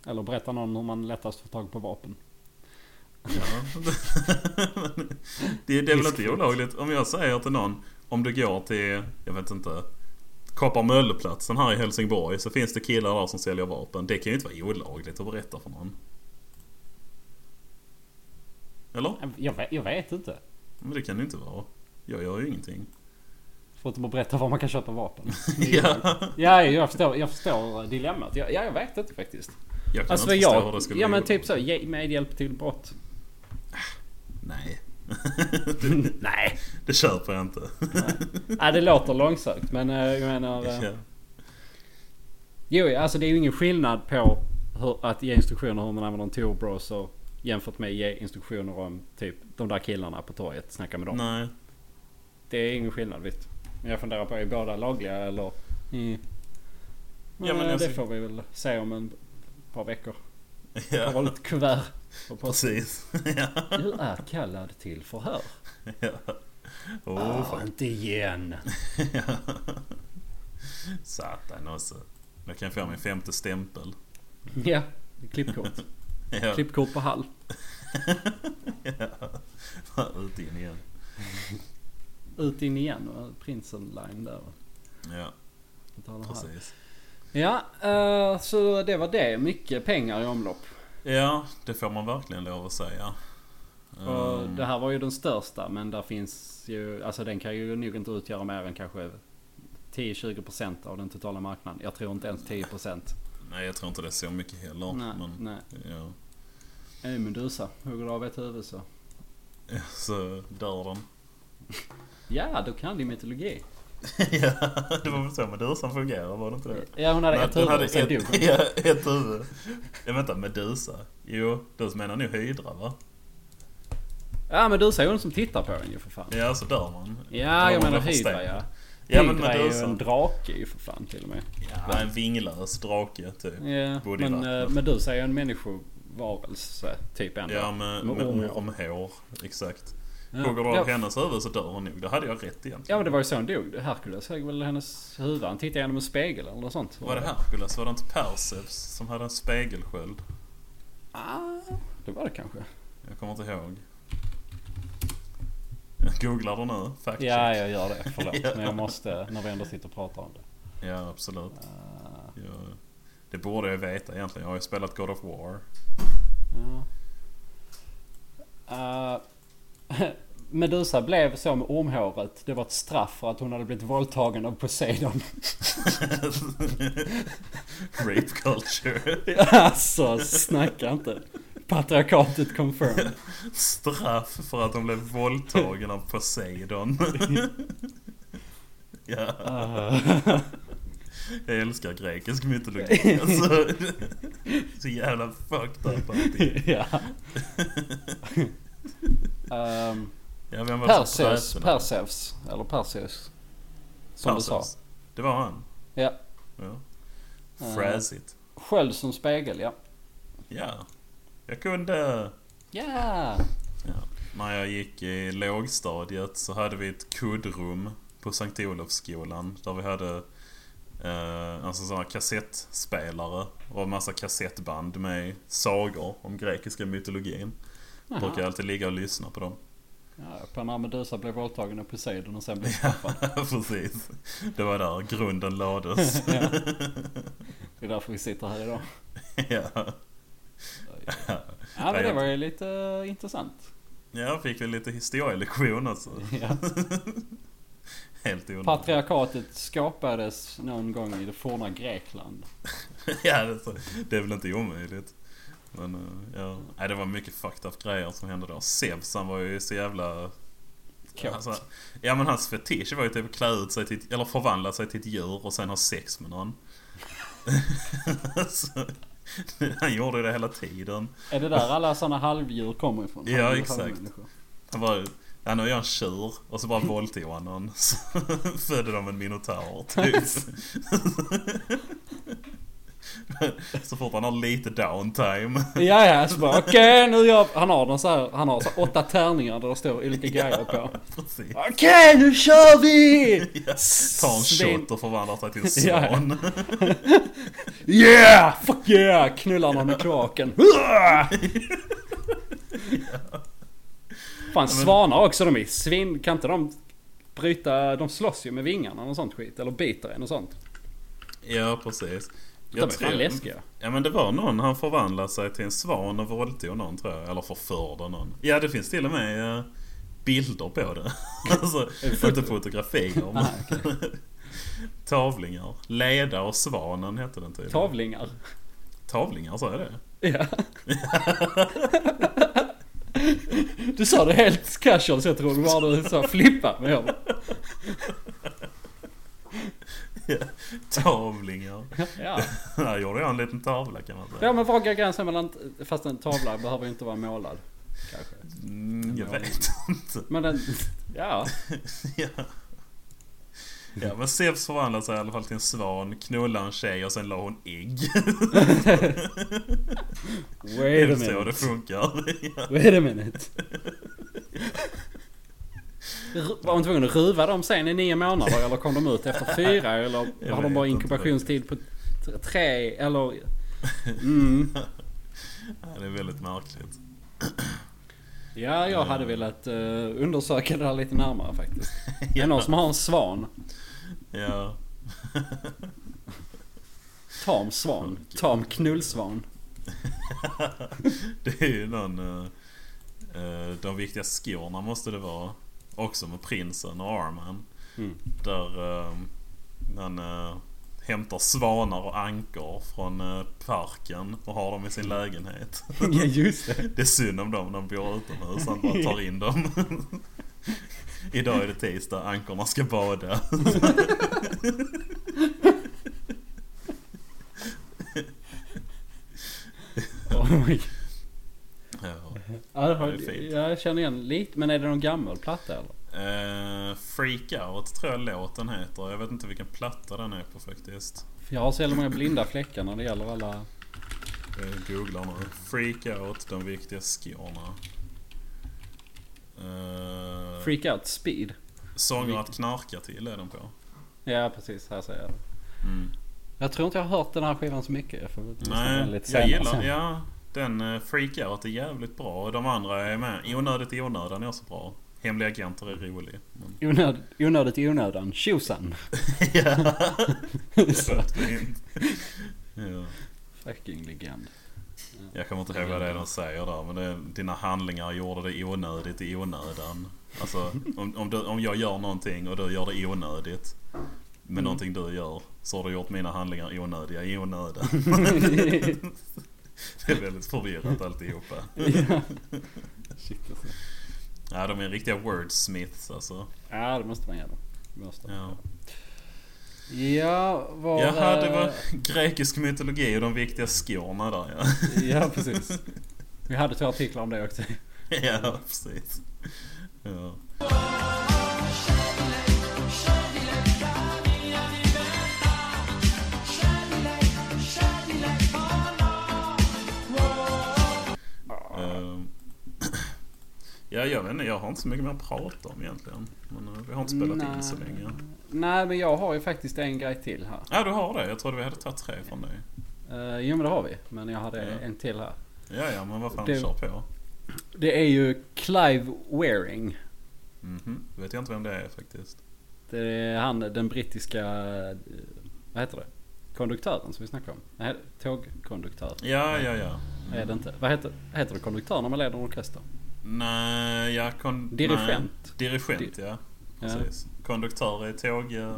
Eller berätta någon hur man lättast får tag på vapen.
ja. <laughs> det, är- det är väl
Riskfritt.
inte olagligt om jag säger till någon om du går till, jag vet inte, Kopparmölleplatsen här i Helsingborg så finns det killar där som säljer vapen. Det kan ju inte vara olagligt att berätta för någon. Eller?
Jag vet, jag vet inte.
Men det kan det inte vara. Jag gör ju ingenting.
Förutom att berätta var man kan
<laughs>
köpa vapen.
Ja.
ja, jag förstår, jag förstår dilemmat. Ja, ja, jag vet inte faktiskt.
Jag kan
Alltså
inte förstå hur
jag... typ
det skulle
Ja
bli
men typ
olagligt.
så, ge medhjälp till brott.
Nej. <laughs> det,
<laughs> Nej.
det köper jag inte.
Ja, det låter långsökt men eh, jag menar...
<laughs>
eh,
Ja.
Jo, alltså det är ju ingen skillnad på hur, att ge instruktioner hur man använder en tour browser jämfört med att ge instruktioner om typ de där killarna på torget. Snacka med dem.
Nej.
Det är ingen skillnad visst. Men jag funderar på, är båda lagliga eller? Mm.
Ja, men
men Eh, det
alltså-
får vi väl se om en par veckor. Jag har
Ja,
lite kuvert. Och
<laughs>
på,
precis. <laughs> ja.
du är kallad till förhör. <laughs>
ja. Oh,
Ah,
fan. <laughs>
inte igen.
Ja. Satan också. Jag kan få min femte stämpel.
<laughs>
<laughs>
Ja, klippkort.
Ja.
Klippkort på Hall.
<laughs> Ja. Ut in igen.
Ut in igen och prinsen line där.
Ja,
På tal om Hall.
precis.
Ja, eh, så det var det. Mycket pengar i omlopp.
Ja, det får man verkligen lov att säga.
Och
Ehm,
det här var ju den största men där finns ju, alltså den kan ju nog inte utgöra mer än kanske 10-20% av den totala marknaden. Jag tror inte ens 10%.
Nej, jag tror inte det är så mycket heller.
nej,
men,
nej.
Ja. <laughs>
Är ju Medusa, hugger av ett huvud så.
Ja, Så dör
<laughs>
den.
Ja, då kan din mytologi.
ja, det var väl så Medusan fungerar, var det inte det?
Ja, hon hade
Nej,
ett
den
huvud och sen dog
ett,
hon.
<laughs> ja, ett huvud. Ja, vänta, Medusa? Jo, du menar nog Hydra va?
Ja, Medusa är hon som tittar på en ju för fan.
Ja, så dör man.
Ja,
Då
jag
var
menar
man förställd.
Hydra ja.
Ja, men
Hydra är ju
Medusa.
en drake ju för fan till och med.
Ja, en vinglös drake typ.
Ja,
Borde i
men
vattnet.
eh, Medusa är ju en människovarelse typ ändå.
Ja, med,
Med
med
ormhår.
ormhår. Exakt.
Ja.
Hugger du
Ja.
av hennes huvud så dör hon nog. Det hade jag rätt egentligen.
Ja men det var ju så hon dog. Herkules högg väl hennes huvud. Han tittade genom en spegel eller något sånt.
Var det Herkules? Var det inte Perseus som hade en spegelsköld?
Ah, det var det kanske.
Jag kommer inte ihåg. Jag googlar det nu. Fact
Ja,
check.
jag gör det. Förlåt.
<laughs> Ja.
Men jag måste, när vi ändå sitter och pratar om det.
ja, absolut.
Ah,
Jag, det borde jag veta egentligen. Jag har ju spelat God of War. <laughs>
ja. Ah, <laughs> Medusa blev så med ormhåret. Det var ett straff för att hon hade blivit våldtagen av Poseidon.
Rape culture.
<laughs> alltså, snacka inte.
<laughs>
Patriarkatet confirmed.
Straff för att de blev våldtagen av
<laughs>
Poseidon. ja,
Ah.
jag älskar grekisk
<laughs>
mytologi. Alltså, så jävla fucked up allting.
<laughs> ja.
<laughs>
Ehm,
Ja, vem var det som
Perseus,
fräste den?
Perseus, eller Perseus. Som du sa.
Perseus. Det var han.
Ja.
ja.
Eh.
Fräsigt.
Sköld som spegel, ja.
Ja. Jag kunde...
Ja!
När jag gick i lågstadiet så hade vi ett kuddrum på Sankt Olofsskolan där vi hade eh, alltså sådana kassettspelare och massa kassettband med sagor om grekiska mytologin.
Jaha.
Brukar jag alltid ligga och lyssna på dem. <laughs>
Ja, på när Medusa blev våldtagen av Poseidon
<laughs>
och sen blev straffad.
Precis. Det var där grunden lades.
<laughs> ja. Det är därför vi sitter här idag.
<laughs> ja.
Ja men det var ju lite eh, intressant.
ja, fick vi lite historielektion också.
Ja.
Helt onödigt.
Patriarkatet skapades någon gång i det forna Grekland.
<laughs> ja, det, är så- det är väl inte omöjligt. Men eh, ja, Nej, det var mycket fucked up grejer som hände då. Zeus han var ju så jävla...
Kåt.
Alltså, ja men hans fetisch var ju typ att klä ut sig till, ett- eller förvandla sig till ett djur och sen ha sex med någon. <laughs> så, han gjorde ju det hela tiden.
Är det där alla sådana halvdjur kommer ifrån?
Ja,
Halvdjur,
exakt.
halvmänniskor.
Han var ju... Ja nu är jag en tjur och så bara våldtog han någon. Så <laughs> födde de en minotaur typ. <laughs> så fort han har lite downtime. <laughs>
Ja, ja, så bara okej nu gör Han har den så här, han har så här åtta tärningar där det står olika grejer på.
Precis.
Okej, nu kör vi!
Ja, tar en
Svin-
shot och förvandlar sig till en
<laughs> Ja.
svan.
Yeah! Fuck yeah! Knullar någon i <laughs> kloaken. Uah! Fan svanar också de är svin... Kan inte de bryta... De slåss ju med vingarna och sånt skit. Eller biter en och sånt.
<laughs> Ja, precis.
De är fan läskiga.
Ja, men det var någon han förvandlade sig till en svan och våldtog någon tror jag. Eller förförde någon. Ja, det finns till och med eh, bilder på det. <laughs>
<laughs>
alltså, inte fotografier. men
Ah, okej.
<laughs> Tavlingar. Leda och svanen hette den tydligen.
<laughs> Tavlingar.
Tavlingar, sa jag det?
Ja. Du sa det helt casual så jag trodde bara du sa flippa. Men jag bara,
<laughs> Tavlingar. <laughs>
ja.
Här gjorde jag en liten tavla kan man säga.
ja men var går gränsen mellan... Fast en tavla behöver ju inte vara målad. Kanske.
Mm, jag vet inte.
Men den... Ja.
<laughs>
<laughs>
Ja. Ja men Zeus förvandlade sig i alla fall till en svan, knullade en tjej och sen la hon ägg. Det
Wait a
är så det
minute.
funkar. Ja.
Wait
<laughs>
a minute. Ru- Var de tvungna att ruva dem sen i nio månader eller kom de ut
<laughs>
efter fyra eller
Jag
har de bara
vet inte
inkubationstid på t- tre eller... Mm.
Ja, Det är väldigt märkligt.
Ja, jag hade velat eh, undersöka det här lite närmare faktiskt. Det är någon som har en svan.
Ja. <laughs>
Tam svan. Tam knullsvan.
Det är ju någon... eh, eh, de viktiga skorna måste det vara. Också med prinsen och Arman.
Mm.
Där eh, han eh, hämtar svanar och ankor från eh, parken och har dem i sin lägenhet.
<laughs>
<laughs>
ja, just det.
Det är synd om dem, de bor utomhus. Han bara tar in dem. Idag är det tisdag, ankorna ska bada.
Oh my God.
Ja. Ja,
Ja, det
det är
har,
fint.
ja, jag känner igen lite. Men är det någon gammal platta eller?
Eh, Freak Out tror jag låten heter. Jag vet inte vilken platta den är på faktiskt.
För jag har så jävla många blinda fläckar när det gäller alla...
Jag googlar nu. Freak Out, de viktiga skorna. Eh,
Freak out speed.
sånger att knarka till är de på.
Ja, precis. Här säger jag det.
Mm.
Jag tror inte jag har hört den här skivan så mycket. Jag får väl lyssna på den
Nej,
lite
jag
senare
gillar...
sen.
Ja, den eh, Freak Out är jävligt bra. Och de andra är med. Onödigt i onödan är också bra. Hemliga agenter är rolig.
<laughs>
Men...
Onöd, onödigt i onödan. Tjosan! <laughs>
ja, det låter fint. <laughs> Ja.
Fucking legend.
Jag kommer inte ihåg vad det är de säger där men det är, dina handlingar gjorde det onödigt i onödan. Alltså om, om, du, om jag gör någonting och du gör det onödigt med
Mm.
någonting du gör så har du gjort mina handlingar onödiga i
<laughs>
onödan. <laughs> det är väldigt förvirrat alltihopa.
ja. Shit alltså.
Ja, de är riktiga wordsmiths alltså.
Ja, det måste man göra. Det Måste. man
Ja.
göra. Ja, var...
Jaha, det var
eh,
grekisk mytologi och de viktiga skorna där ja.
<laughs> Ja, precis. Vi hade två artiklar om det också.
<laughs> ja, precis. Ja. Eh, <clears throat> Ja, jag vet inte. Jag har inte så mycket mer att prata om egentligen. Men eh, vi har inte spelat in så
Nej.
länge.
Nej, men jag har ju faktiskt en grej till här.
Ja, du har det. Jag trodde vi hade tagit tre från dig.
Uh, jo, men det har vi. Men jag hade
Ja.
en till här.
Ja, ja, men vad fan,
Det-
kör på.
Det är ju Clive Wearing.
Mhm. Vet jag inte vem det är faktiskt.
Det är eh, han, den brittiska... eh, Vad heter det? Konduktören som vi snackade om. Nej, tågkonduktör.
Ja, ja, ja.
Är det inte? Vad heter, heter det konduktör när man leder en orkester?
Nej, ja, kon...
Dirigent.
Nej. Dirigent, ja. Precis. Konduktör är tåg... eh,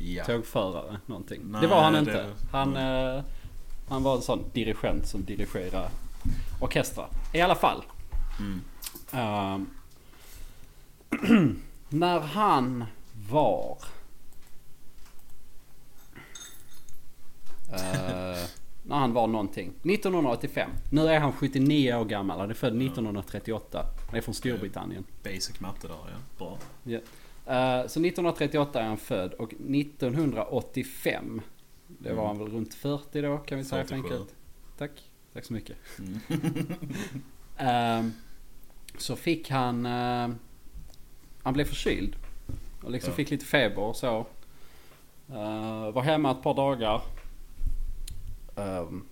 Ja.
Tågförare, någonting.
Nej,
det var han
det-
inte. Han, eh, han var en sån dirigent som dirigerar orkestrar. I alla fall.
Mm.
Ehm, <clears throat> när han var... Eh, när han var någonting. 1985. Nu är han 79 år gammal. Han är född 1938. Han är från Storbritannien.
Basic matte där, ja. Bra.
Ja. Eh, så 1938 är han född och 1985, det var han väl runt 40 då kan vi säga
47.
enkelt. Tack, tack så mycket.
Mm.
Ehm, så fick han, eh, han blev förkyld och liksom
Ja.
fick lite feber och så. Eh, var hemma ett par dagar. Ehm,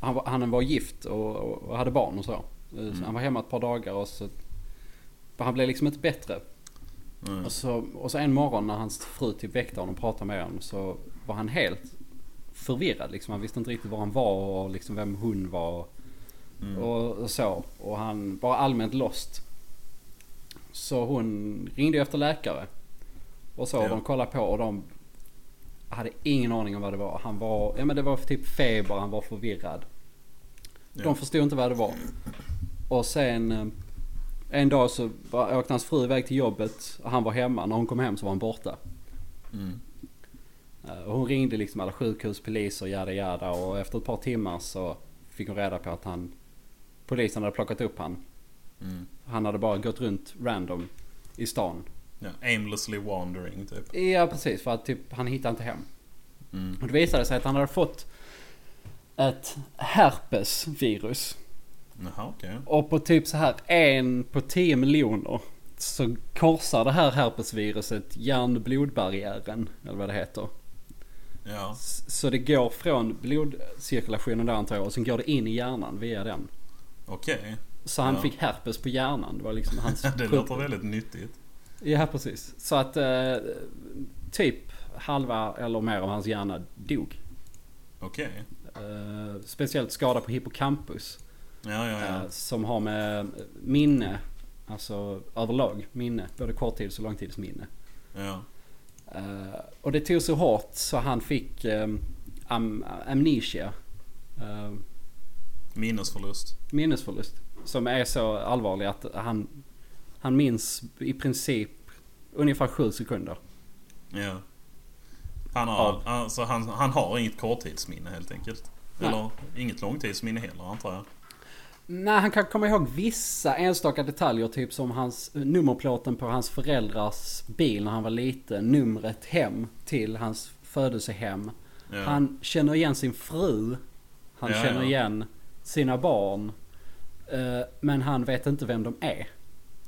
han, var, han var gift och, och, och hade barn och så. Eh, så. Han var hemma ett par dagar och så, han blev liksom inte bättre.
Mm.
Och så, och så en morgon när hans fru typ väckte honom och pratade med honom så var han helt förvirrad. Liksom. Han visste inte riktigt var han var och liksom vem hon var.
Mm.
Och, och så. Och han var allmänt lost. Så hon ringde efter läkare. Och så
Ja.
och de kollade på och de hade ingen aning om vad det var. Han var, ja men det var typ feber, han var förvirrad.
Ja.
De förstod inte vad det var. Och sen eh, en dag så var, åkte hans fru iväg till jobbet och han var hemma. När hon kom hem så var han borta.
Mm.
Eh, Och hon ringde liksom alla sjukhus, poliser, jada jada. Och efter ett par timmar så fick hon reda på att han... Polisen hade plockat upp han.
Mm.
Han hade bara gått runt random i stan.
Ja, aimlessly wandering typ.
Ja precis, för att typ han hittade inte hem.
Mm.
Och det visade sig att han hade fått ett herpesvirus.
Jaha, okej.
Och på typ så här en på 10 miljoner så korsar det här herpesviruset hjärn-blodbarriären, eller vad det heter.
Ja.
S- Så det går från blodcirkulationen där antar jag och sen går det in i hjärnan via den.
Okej. <laughs>
Så han
Ja.
fick herpes på hjärnan. <laughs> Det var liksom hans...
Det
sjukdom.
låter väldigt nyttigt.
Ja precis. Så att eh, typ halva eller mer av hans hjärna dog.
Okej.
Eh, speciellt skada på hippocampus.
Ja, ja, ja.
Eh, som har med minne, alltså överlag minne, både korttids och långtidsminne.
Ja.
Eh, och det tog så hårt så han fick eh, am- amnesia, eh,
Minnesförlust.
minnesförlust. Som är så allvarlig att han, han minns i princip ungefär sju sekunder.
Ja. Han har,
Ja.
alltså, han, han har inget korttidsminne helt enkelt.
Nej.
Eller inget långtidsminne heller antar jag.
Nej, han kan komma ihåg vissa enstaka detaljer. Typ som hans nummerplåten på hans föräldrars bil när han var liten. Numret hem till hans födelsehem.
Ja.
Han känner igen sin fru. Han
Ja,
känner
ja.
igen sina barn. Eh, Men han vet inte vem de är.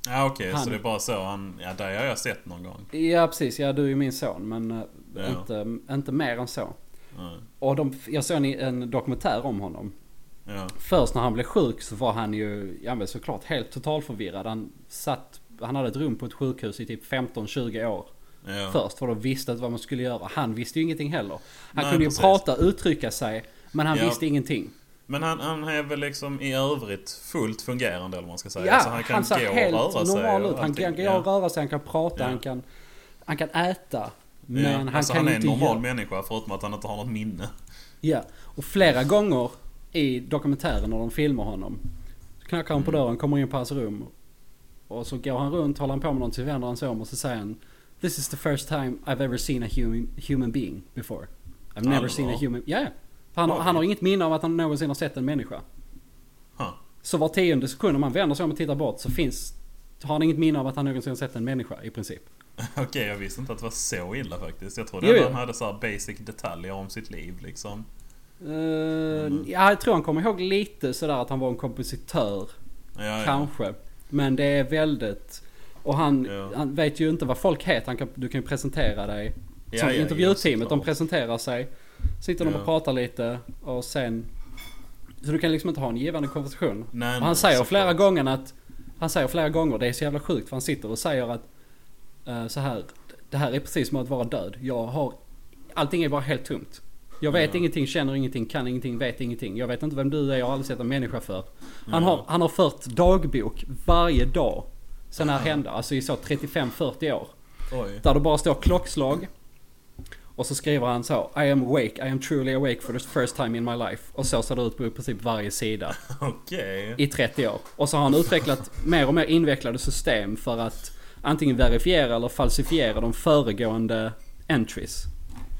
Ja okej, så
Han-
det är bara så han... Ja, det har jag sett någon gång.
Ja precis, ja du är ju min son men eh,
Ja.
inte, inte mer än så.
Ja.
Och de, jag såg en, en dokumentär om honom.
Ja.
Först när han blev sjuk så var han ju, ja men såklart helt totalförvirrad. Han satt, han hade ett rum på ett sjukhus i typ 15-20 år.
Ja.
Först för de visste inte vad man skulle göra. Han visste ju ingenting heller.
Nej,
Han kunde ju
precis.
prata, uttrycka sig. Men han
Ja.
visste ingenting.
Men han, han är väl liksom i övrigt fullt fungerande eller vad man ska säga.
Ja,
Alltså,
han,
kan
ser
gå och
helt
röra sig
normal
och
ut. Han
allting.
kan gå
Ja.
och röra sig, han kan prata,
Ja.
han, kan, han kan äta. Men
Ja,
han
alltså,
kan
han är
ju
en
inte
normal
göra-
människa förutom att han inte har något minne. <laughs>
Ja. Och flera gånger i dokumentären när de filmar honom. Så knackar han på dörren, kommer in på hans rum. Och så går han runt, håller han på med någonting, så vänder han sig om och så säger han This is the first time I've ever seen a human, human being before. I've
Ja,
never
men
seen a
bra.
human... Ja, ja. För Han, har-
Oj.
han har inget minne av att han någonsin har sett en människa.
Huh.
Så var tionde sekund om man vänder sig om och tittar bort så finns... Har han inget minne av att han någonsin har sett en människa i princip.
Okej, jag visste inte att det var så illa faktiskt. Jag trodde
Jo,
ändå
jo.
han hade så här basic detaljer om sitt liv liksom.
Eh, Ja, jag tror han kommer ihåg lite sådär att han var en kompositör.
Ja, ja.
Kanske. Men det är väldigt... Och han,
Ja.
han vet ju inte vad folk heter. Han kan, du kan ju presentera dig.
Ja,
som
ja, ja,
intervjuteamet, de
såklart.
presenterar sig. Sitter de
Ja.
och pratar lite och sen... Så du kan liksom inte ha en givande konversation.
Nej,
och han
nej,
säger
såklart.
flera gånger att... Han säger flera gånger, det är så jävla sjukt för han sitter och säger att... eh, så här, det här är precis som att vara död. Jag har... Allting är bara helt tomt. Jag vet
Ja.
ingenting, känner ingenting, kan ingenting, vet ingenting. Jag vet inte vem du är, jag har aldrig sett en människa för. Han,
Ja.
har, han har fört dagbok varje dag. Sen det här hände, alltså i så 35-40 år.
Oj. <laughs>
Där det bara står klockslag. Och så skriver han så I am awake, I am truly awake for the first time in my life. Och så ser det ut på i princip varje sida
Okej.
i 30 år. Och så har han utvecklat mer och mer invecklade system för att antingen verifiera eller falsifiera de föregående entries.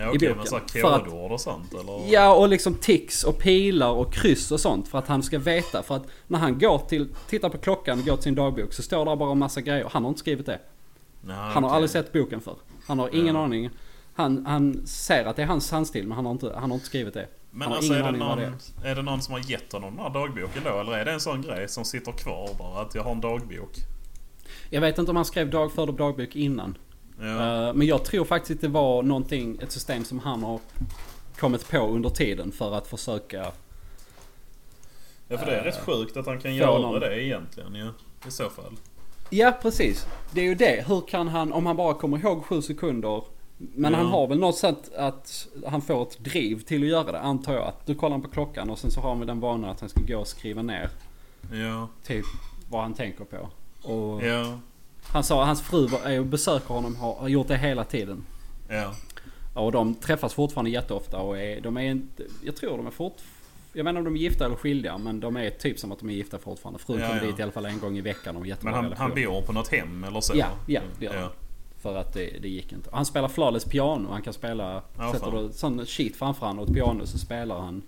Ja,
i
okej, men
boken.
så här
För att-
kodord och sånt eller?
Ja, och liksom tics och pilar och kryss och sånt för att han ska veta. För att när han går till, tittar på klockan och går till sin dagbok så står där bara en massa grejer. Han har inte skrivit det.
Nej,
Han har
okej.
aldrig sett boken för. Han har ingen
Ja.
aning. Han, han ser att det är hans handstil men han har inte, han har inte skrivit det.
Men
han har
alltså
ingen
är det,
aning vad
någon,
det
är. det någon som har gett honom den här dagboken då? Eller är det en sån grej som sitter kvar bara? Att jag har en dagbok?
Jag vet inte om han skrev dag för dagbok innan.
Ja,
Eh, Men jag tror faktiskt att det var någonting, ett system som han har kommit på under tiden för att försöka...
ja för det är rätt sjukt att han kan
eh, får
göra
någon-
det egentligen ju. I så fall.
Ja precis. Det är ju det. Hur kan han, om han bara kommer ihåg sju sekunder. Men
Ja.
han har väl något sätt att han får ett driv till att göra det antar jag. Att du kollar han på klockan och sen så har han väl den vanan att han ska gå och skriva ner
Ja,
typ vad han tänker på. Och
ja,
Han sa att hans fru var- är och besöker honom har har gjort det hela tiden.
ja.
Ja, Och de träffas fortfarande jätteofta och är, de är inte, jag tror de är fort, Jag vet inte om de är gifta eller skilda men de är typ som att de är gifta fortfarande. Frun
Ja,
kommer
ja.
dit i alla fall en gång i veckan och har en jättebra
Men han,
relation.
han bor på något hem eller så?
Ja, ja, det gör
ja.
han. För att det, det gick inte. Han spelar flawless piano. Han kan spela...
Ja,
sätter
fan.
du sån shit framför han och ett piano så spelar han.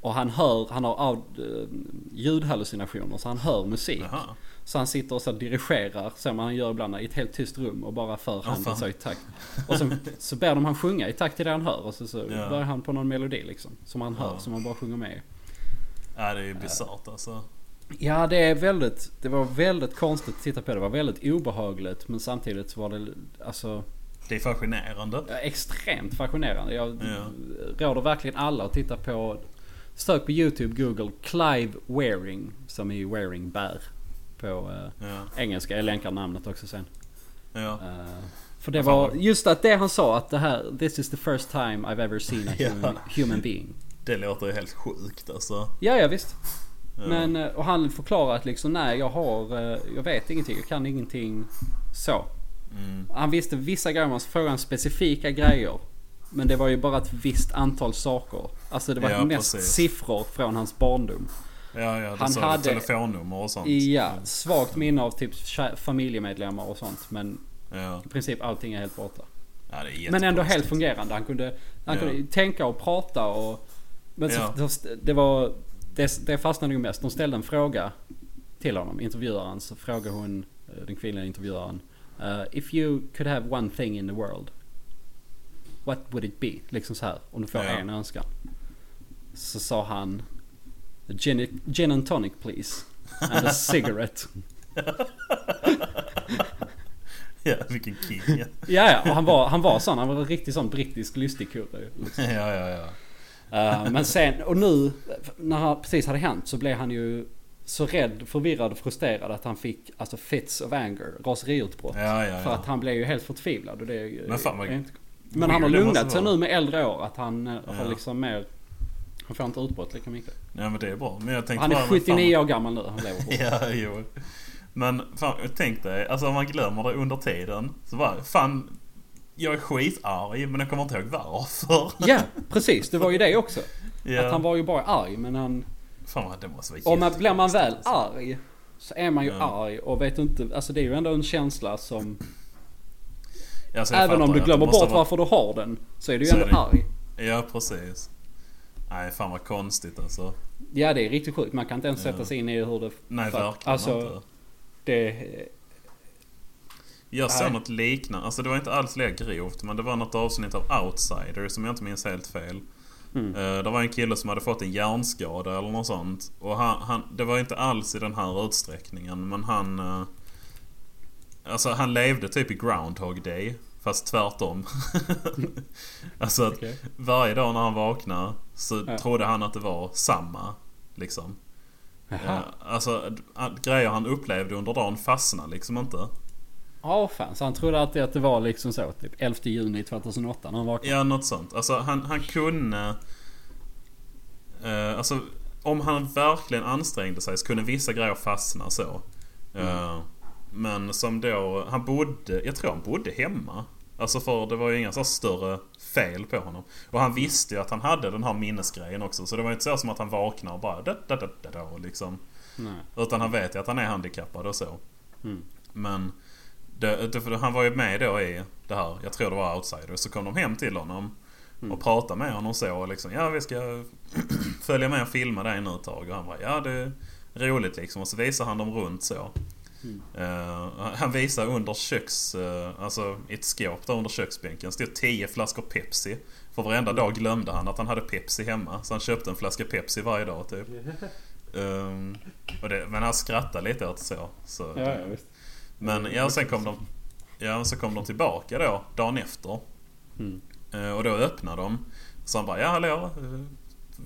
Och han hör, han har aud, eh, ljudhallucinationer så han hör musik.
Jaha.
Så han sitter och så dirigerar, som han gör ibland, i ett helt tyst rum och bara för handen
fan.
så i takt. Och sen så ber de han sjunga i takt till det han hör och så, så
Ja.
börjar han på någon melodi liksom. Som han hör,
Ja.
som han bara sjunger med i.
Ja, det är ju bisarrt alltså.
Ja, det är väldigt... Det var väldigt konstigt att titta på. Det var väldigt obehagligt men samtidigt så var det alltså...
Det är fascinerande.
Ja, extremt fascinerande. Jag
Ja.
råder verkligen alla att titta på... Sök på YouTube, Google, Clive Wearing. Som är ju Wearing Bear. På eh,
Ja,
engelska. Jag länkar namnet också sen.
ja.
Eh, för det
Vad fan
var
var det?
just att det han sa att det här... This is the first time I've ever seen a
<laughs>
human, human being.
Det låter ju helt sjukt alltså.
Ja, ja visst.
Ja.
Men, eh, och han förklarar att liksom nej jag har... eh, Jag vet ingenting, jag kan ingenting. Så.
Mm.
Han visste vissa grejer, man frågade han specifika grejer. Men det var ju bara ett visst antal saker. Alltså det var
Ja,
mest
precis.
siffror från hans barndom.
Ja, ja, det
Han
sa
hade-
telefonnummer och sånt.
Ja, svagt minne av typ kä- familjemedlemmar och sånt. Men
Ja.
i princip allting är helt borta.
Ja, det är
Men ändå
jättekonstigt.
helt fungerande. Han kunde, han
Ja.
kunde tänka och prata och... Men så,
Ja.
det var... Det, det fastnade ju mest. De ställde en fråga till honom, intervjuaren. Så frågade hon, eh, den kvinnliga intervjuaren. eh, if you could have one thing in the world. What would it be? Liksom så här. Om du får
Ja.
en önskan. Så sa han... Gin, gin and tonic please. And
<laughs>
a cigarette.
<laughs> Ja, vilken king. <laughs> ja,
ja, ja. Och han var, han var sån. Han var en riktig sån brittisk lustigkurre. ju.
ja, ja.
Eh, men sen, och nu när han precis hade hänt så blev han ju så rädd, förvirrad och frustrerad att han fick alltså fits of anger, raseriutbrott.
ja, ja,
För
ja.
att han blev ju helt förtvivlad. Och det är ju,
Men fan, vad
är inte, men han har
weird det måste
lugnat sig
vara.
nu med äldre år. Att han eh, har
Ja.
liksom mer... Han får inte utbrott lika mycket.
ja, men det är bra. Men jag tänkte
Han
bara,
är
men fan-
79 år gammal nu. Han lever
<laughs>
på.
Ja, jo. Men fan, tänk dig, alltså om man glömmer det under tiden. Så bara, fan. Jag är skitarg men jag kommer inte ihåg
<laughs>
varför.
Ja, precis. Det var ju det också.
Ja.
Att han var ju bara arg men han...
Fan vad det måste vara
Och man,
jättekonstigt.
blir man väl arg så är man ju
Ja.
arg och vet inte... Alltså det är ju ändå en känsla som...
Alltså, jag
Även
fattar
om du
att
glömmer
det måste
bort
vara-
varför du har den så är du ju
Så
ändå
är det.
arg.
Ja, precis. Nej, fan vad konstigt alltså.
Ja det är riktigt sjukt. Man kan inte ens
Ja.
sätta sig in i hur det...
Nej,
för-
verkligen
alltså,
inte.
det
Jag
Nej.
såg något liknande, alltså det var inte alls lika grovt men det var något avsnitt av Outsider som jag inte minns helt fel.
Mm.
Eh, det var en kille som hade fått en hjärnskada eller något sånt. Och han, han, det var inte alls i den här utsträckningen men han... eh, alltså han levde typ i Groundhog Day. Fast tvärtom. <laughs> alltså att
Okej.
varje dag när han vaknade så
Ja.
trodde han att det var samma. Liksom.
Jaha.
Eh, alltså d- att grejer han upplevde under dagen fastnade liksom inte.
Ja fan, så han trodde alltid att det var liksom så typ 11 juni 2008 när han vaknade.
Ja, något sånt. Alltså han, han kunde... eh, alltså om han verkligen ansträngde sig så kunde vissa grejer fastna så. Eh, Men som då, han bodde, jag tror han bodde hemma. Alltså för det var ju inga så här större fel på honom. Och han visste ju att han hade den här minnesgrejen också. Så det var ju inte så som att han vaknar och bara da, da, da, da, da, och liksom.
Nej.
Utan han vet ju att han är handikappad och så.
Mm.
Men det, det, för han var ju med då i det här, jag tror det var Outsider. Så kom de hem till honom
Mm.
och pratade med honom så. Och liksom, ja vi ska <clears throat> följa med och filma dig nu ett tag. Och han var ja det är roligt liksom. Och så visar han dem runt så.
Mm.
Eh, han visar under köks... eh, alltså i ett skåp där under köksbänken stod 10 flaskor Pepsi. För varenda dag glömde han att han hade Pepsi hemma. Så han köpte en flaska Pepsi varje dag
<laughs>
typ. Ehm, och det, men han skrattade lite åt så. så
Ja, ja, visst.
men ja, sen kom de, ja, men så kom de tillbaka då dagen efter.
Mm.
Eh, Och då öppnade de. Så han bara ja hallå. eh,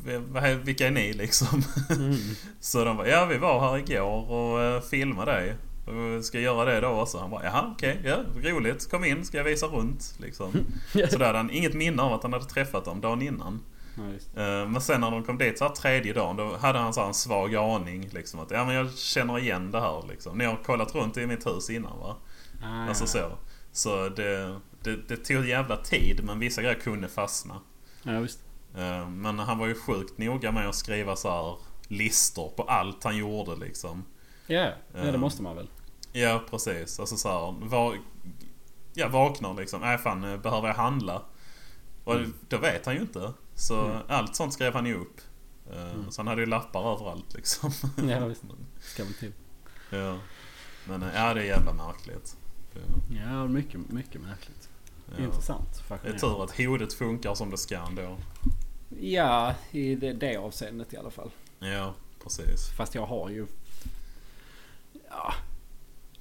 v- vad he- Vilka är ni <laughs> liksom?
Mm.
Så de bara ja vi var här igår och eh, filmade dig. Och Ska göra det då också? Han bara jaha okej, ja, roligt. Kom in ska jag visa runt. Liksom. Så där hade han inget minne av att han hade träffat dem dagen innan.
Ja, just.
Eh, Men sen när de kom dit så här tredje dagen då hade han så här en svag aning liksom att ja men jag känner igen det här liksom. Ni har kollat runt i mitt hus innan va?
Ah,
Alltså
ja.
så. Så det, det, det tog jävla tid men vissa grejer kunde fastna.
Ja, visst.
Eh, Eh, Men han var ju sjukt noga med att skriva så här listor på allt han gjorde liksom.
Ja, ja, det
Ehm.
måste man väl.
Ja precis. Alltså så här, va- Jag vaknar liksom. Nej fan, eh, behöver jag handla? Och då vet han ju inte. Så
Mm.
allt sånt skrev han ju upp. Eh,
Mm.
Så han hade ju lappar överallt liksom.
<laughs> Ja, visst. Ska väl till.
<laughs> ja. Men eh, ja, det är jävla märkligt. Det-
Ja, mycket, mycket märkligt.
Ja.
Intressant.
Det är
Fascinerande.
tur att hodet funkar som det ska ändå.
Ja, i det, det avseendet i alla fall.
Ja, precis.
Fast jag har ju... Ja,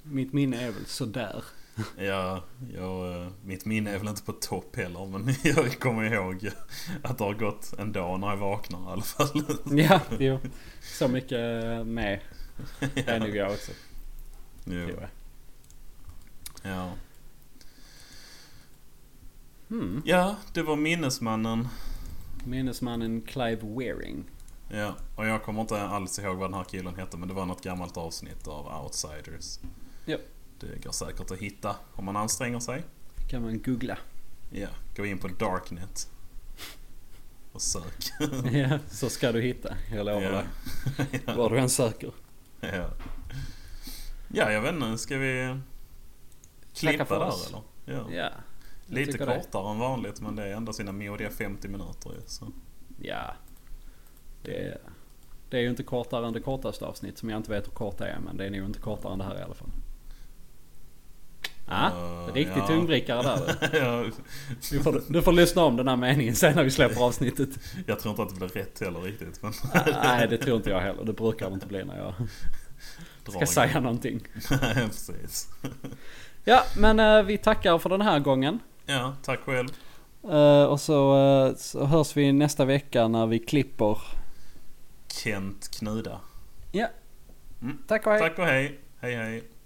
mitt minne är väl sådär.
Ja, jag, eh, mitt minne är väl inte på topp heller men <laughs> jag kommer ihåg att det har gått en dag när jag vaknar i alla fall.
<laughs>
<laughs>
<laughs> Ja, jo. Så mycket med är nog jag också.
Jo.
tror jag.
Ja.
Hmm.
ja, det var minnesmannen.
Minnesmannen Clive Wearing.
Ja, och jag kommer inte alls ihåg vad den här killen hette men det var något gammalt avsnitt av Outsiders.
Ja.
Det går säkert att hitta om man anstränger sig.
Kan man googla.
Ja, gå in på Darknet och sök.
<laughs> ja, så ska du hitta. Jag lovar
<laughs> Ja.
dig. Var du än söker.
Ja. ja, jag vet inte. Ska vi klippa
för
där
oss.
eller? Ja.
Ja. jag
Lite
tycker det.
kortare än vanligt men det är ändå sina modiga 50 minuter ju, så.
Ja. Det, det är ju inte kortare än det kortaste avsnitt som jag inte vet hur kort det är. Men det är nog inte kortare än det här i alla fall. Ah,
Eh,
riktig tungvrickare <laughs> där
<laughs>
du.
ja,
Du får, du får lyssna om den här meningen sen när vi släpper avsnittet.
Jag tror inte att det blir rätt heller riktigt.
<laughs>
Men
Nej, det tror inte jag heller. Det brukar det inte bli när jag
<laughs>
ska säga någonting.
Nej, precis. <laughs>
Ja, men eh, vi tackar för den här gången.
Ja, tack själv.
Eh, och så, eh, så hörs vi nästa vecka när vi klipper.
Kent Knuda.
Tack och hej!
Tack och hej. Hej hej.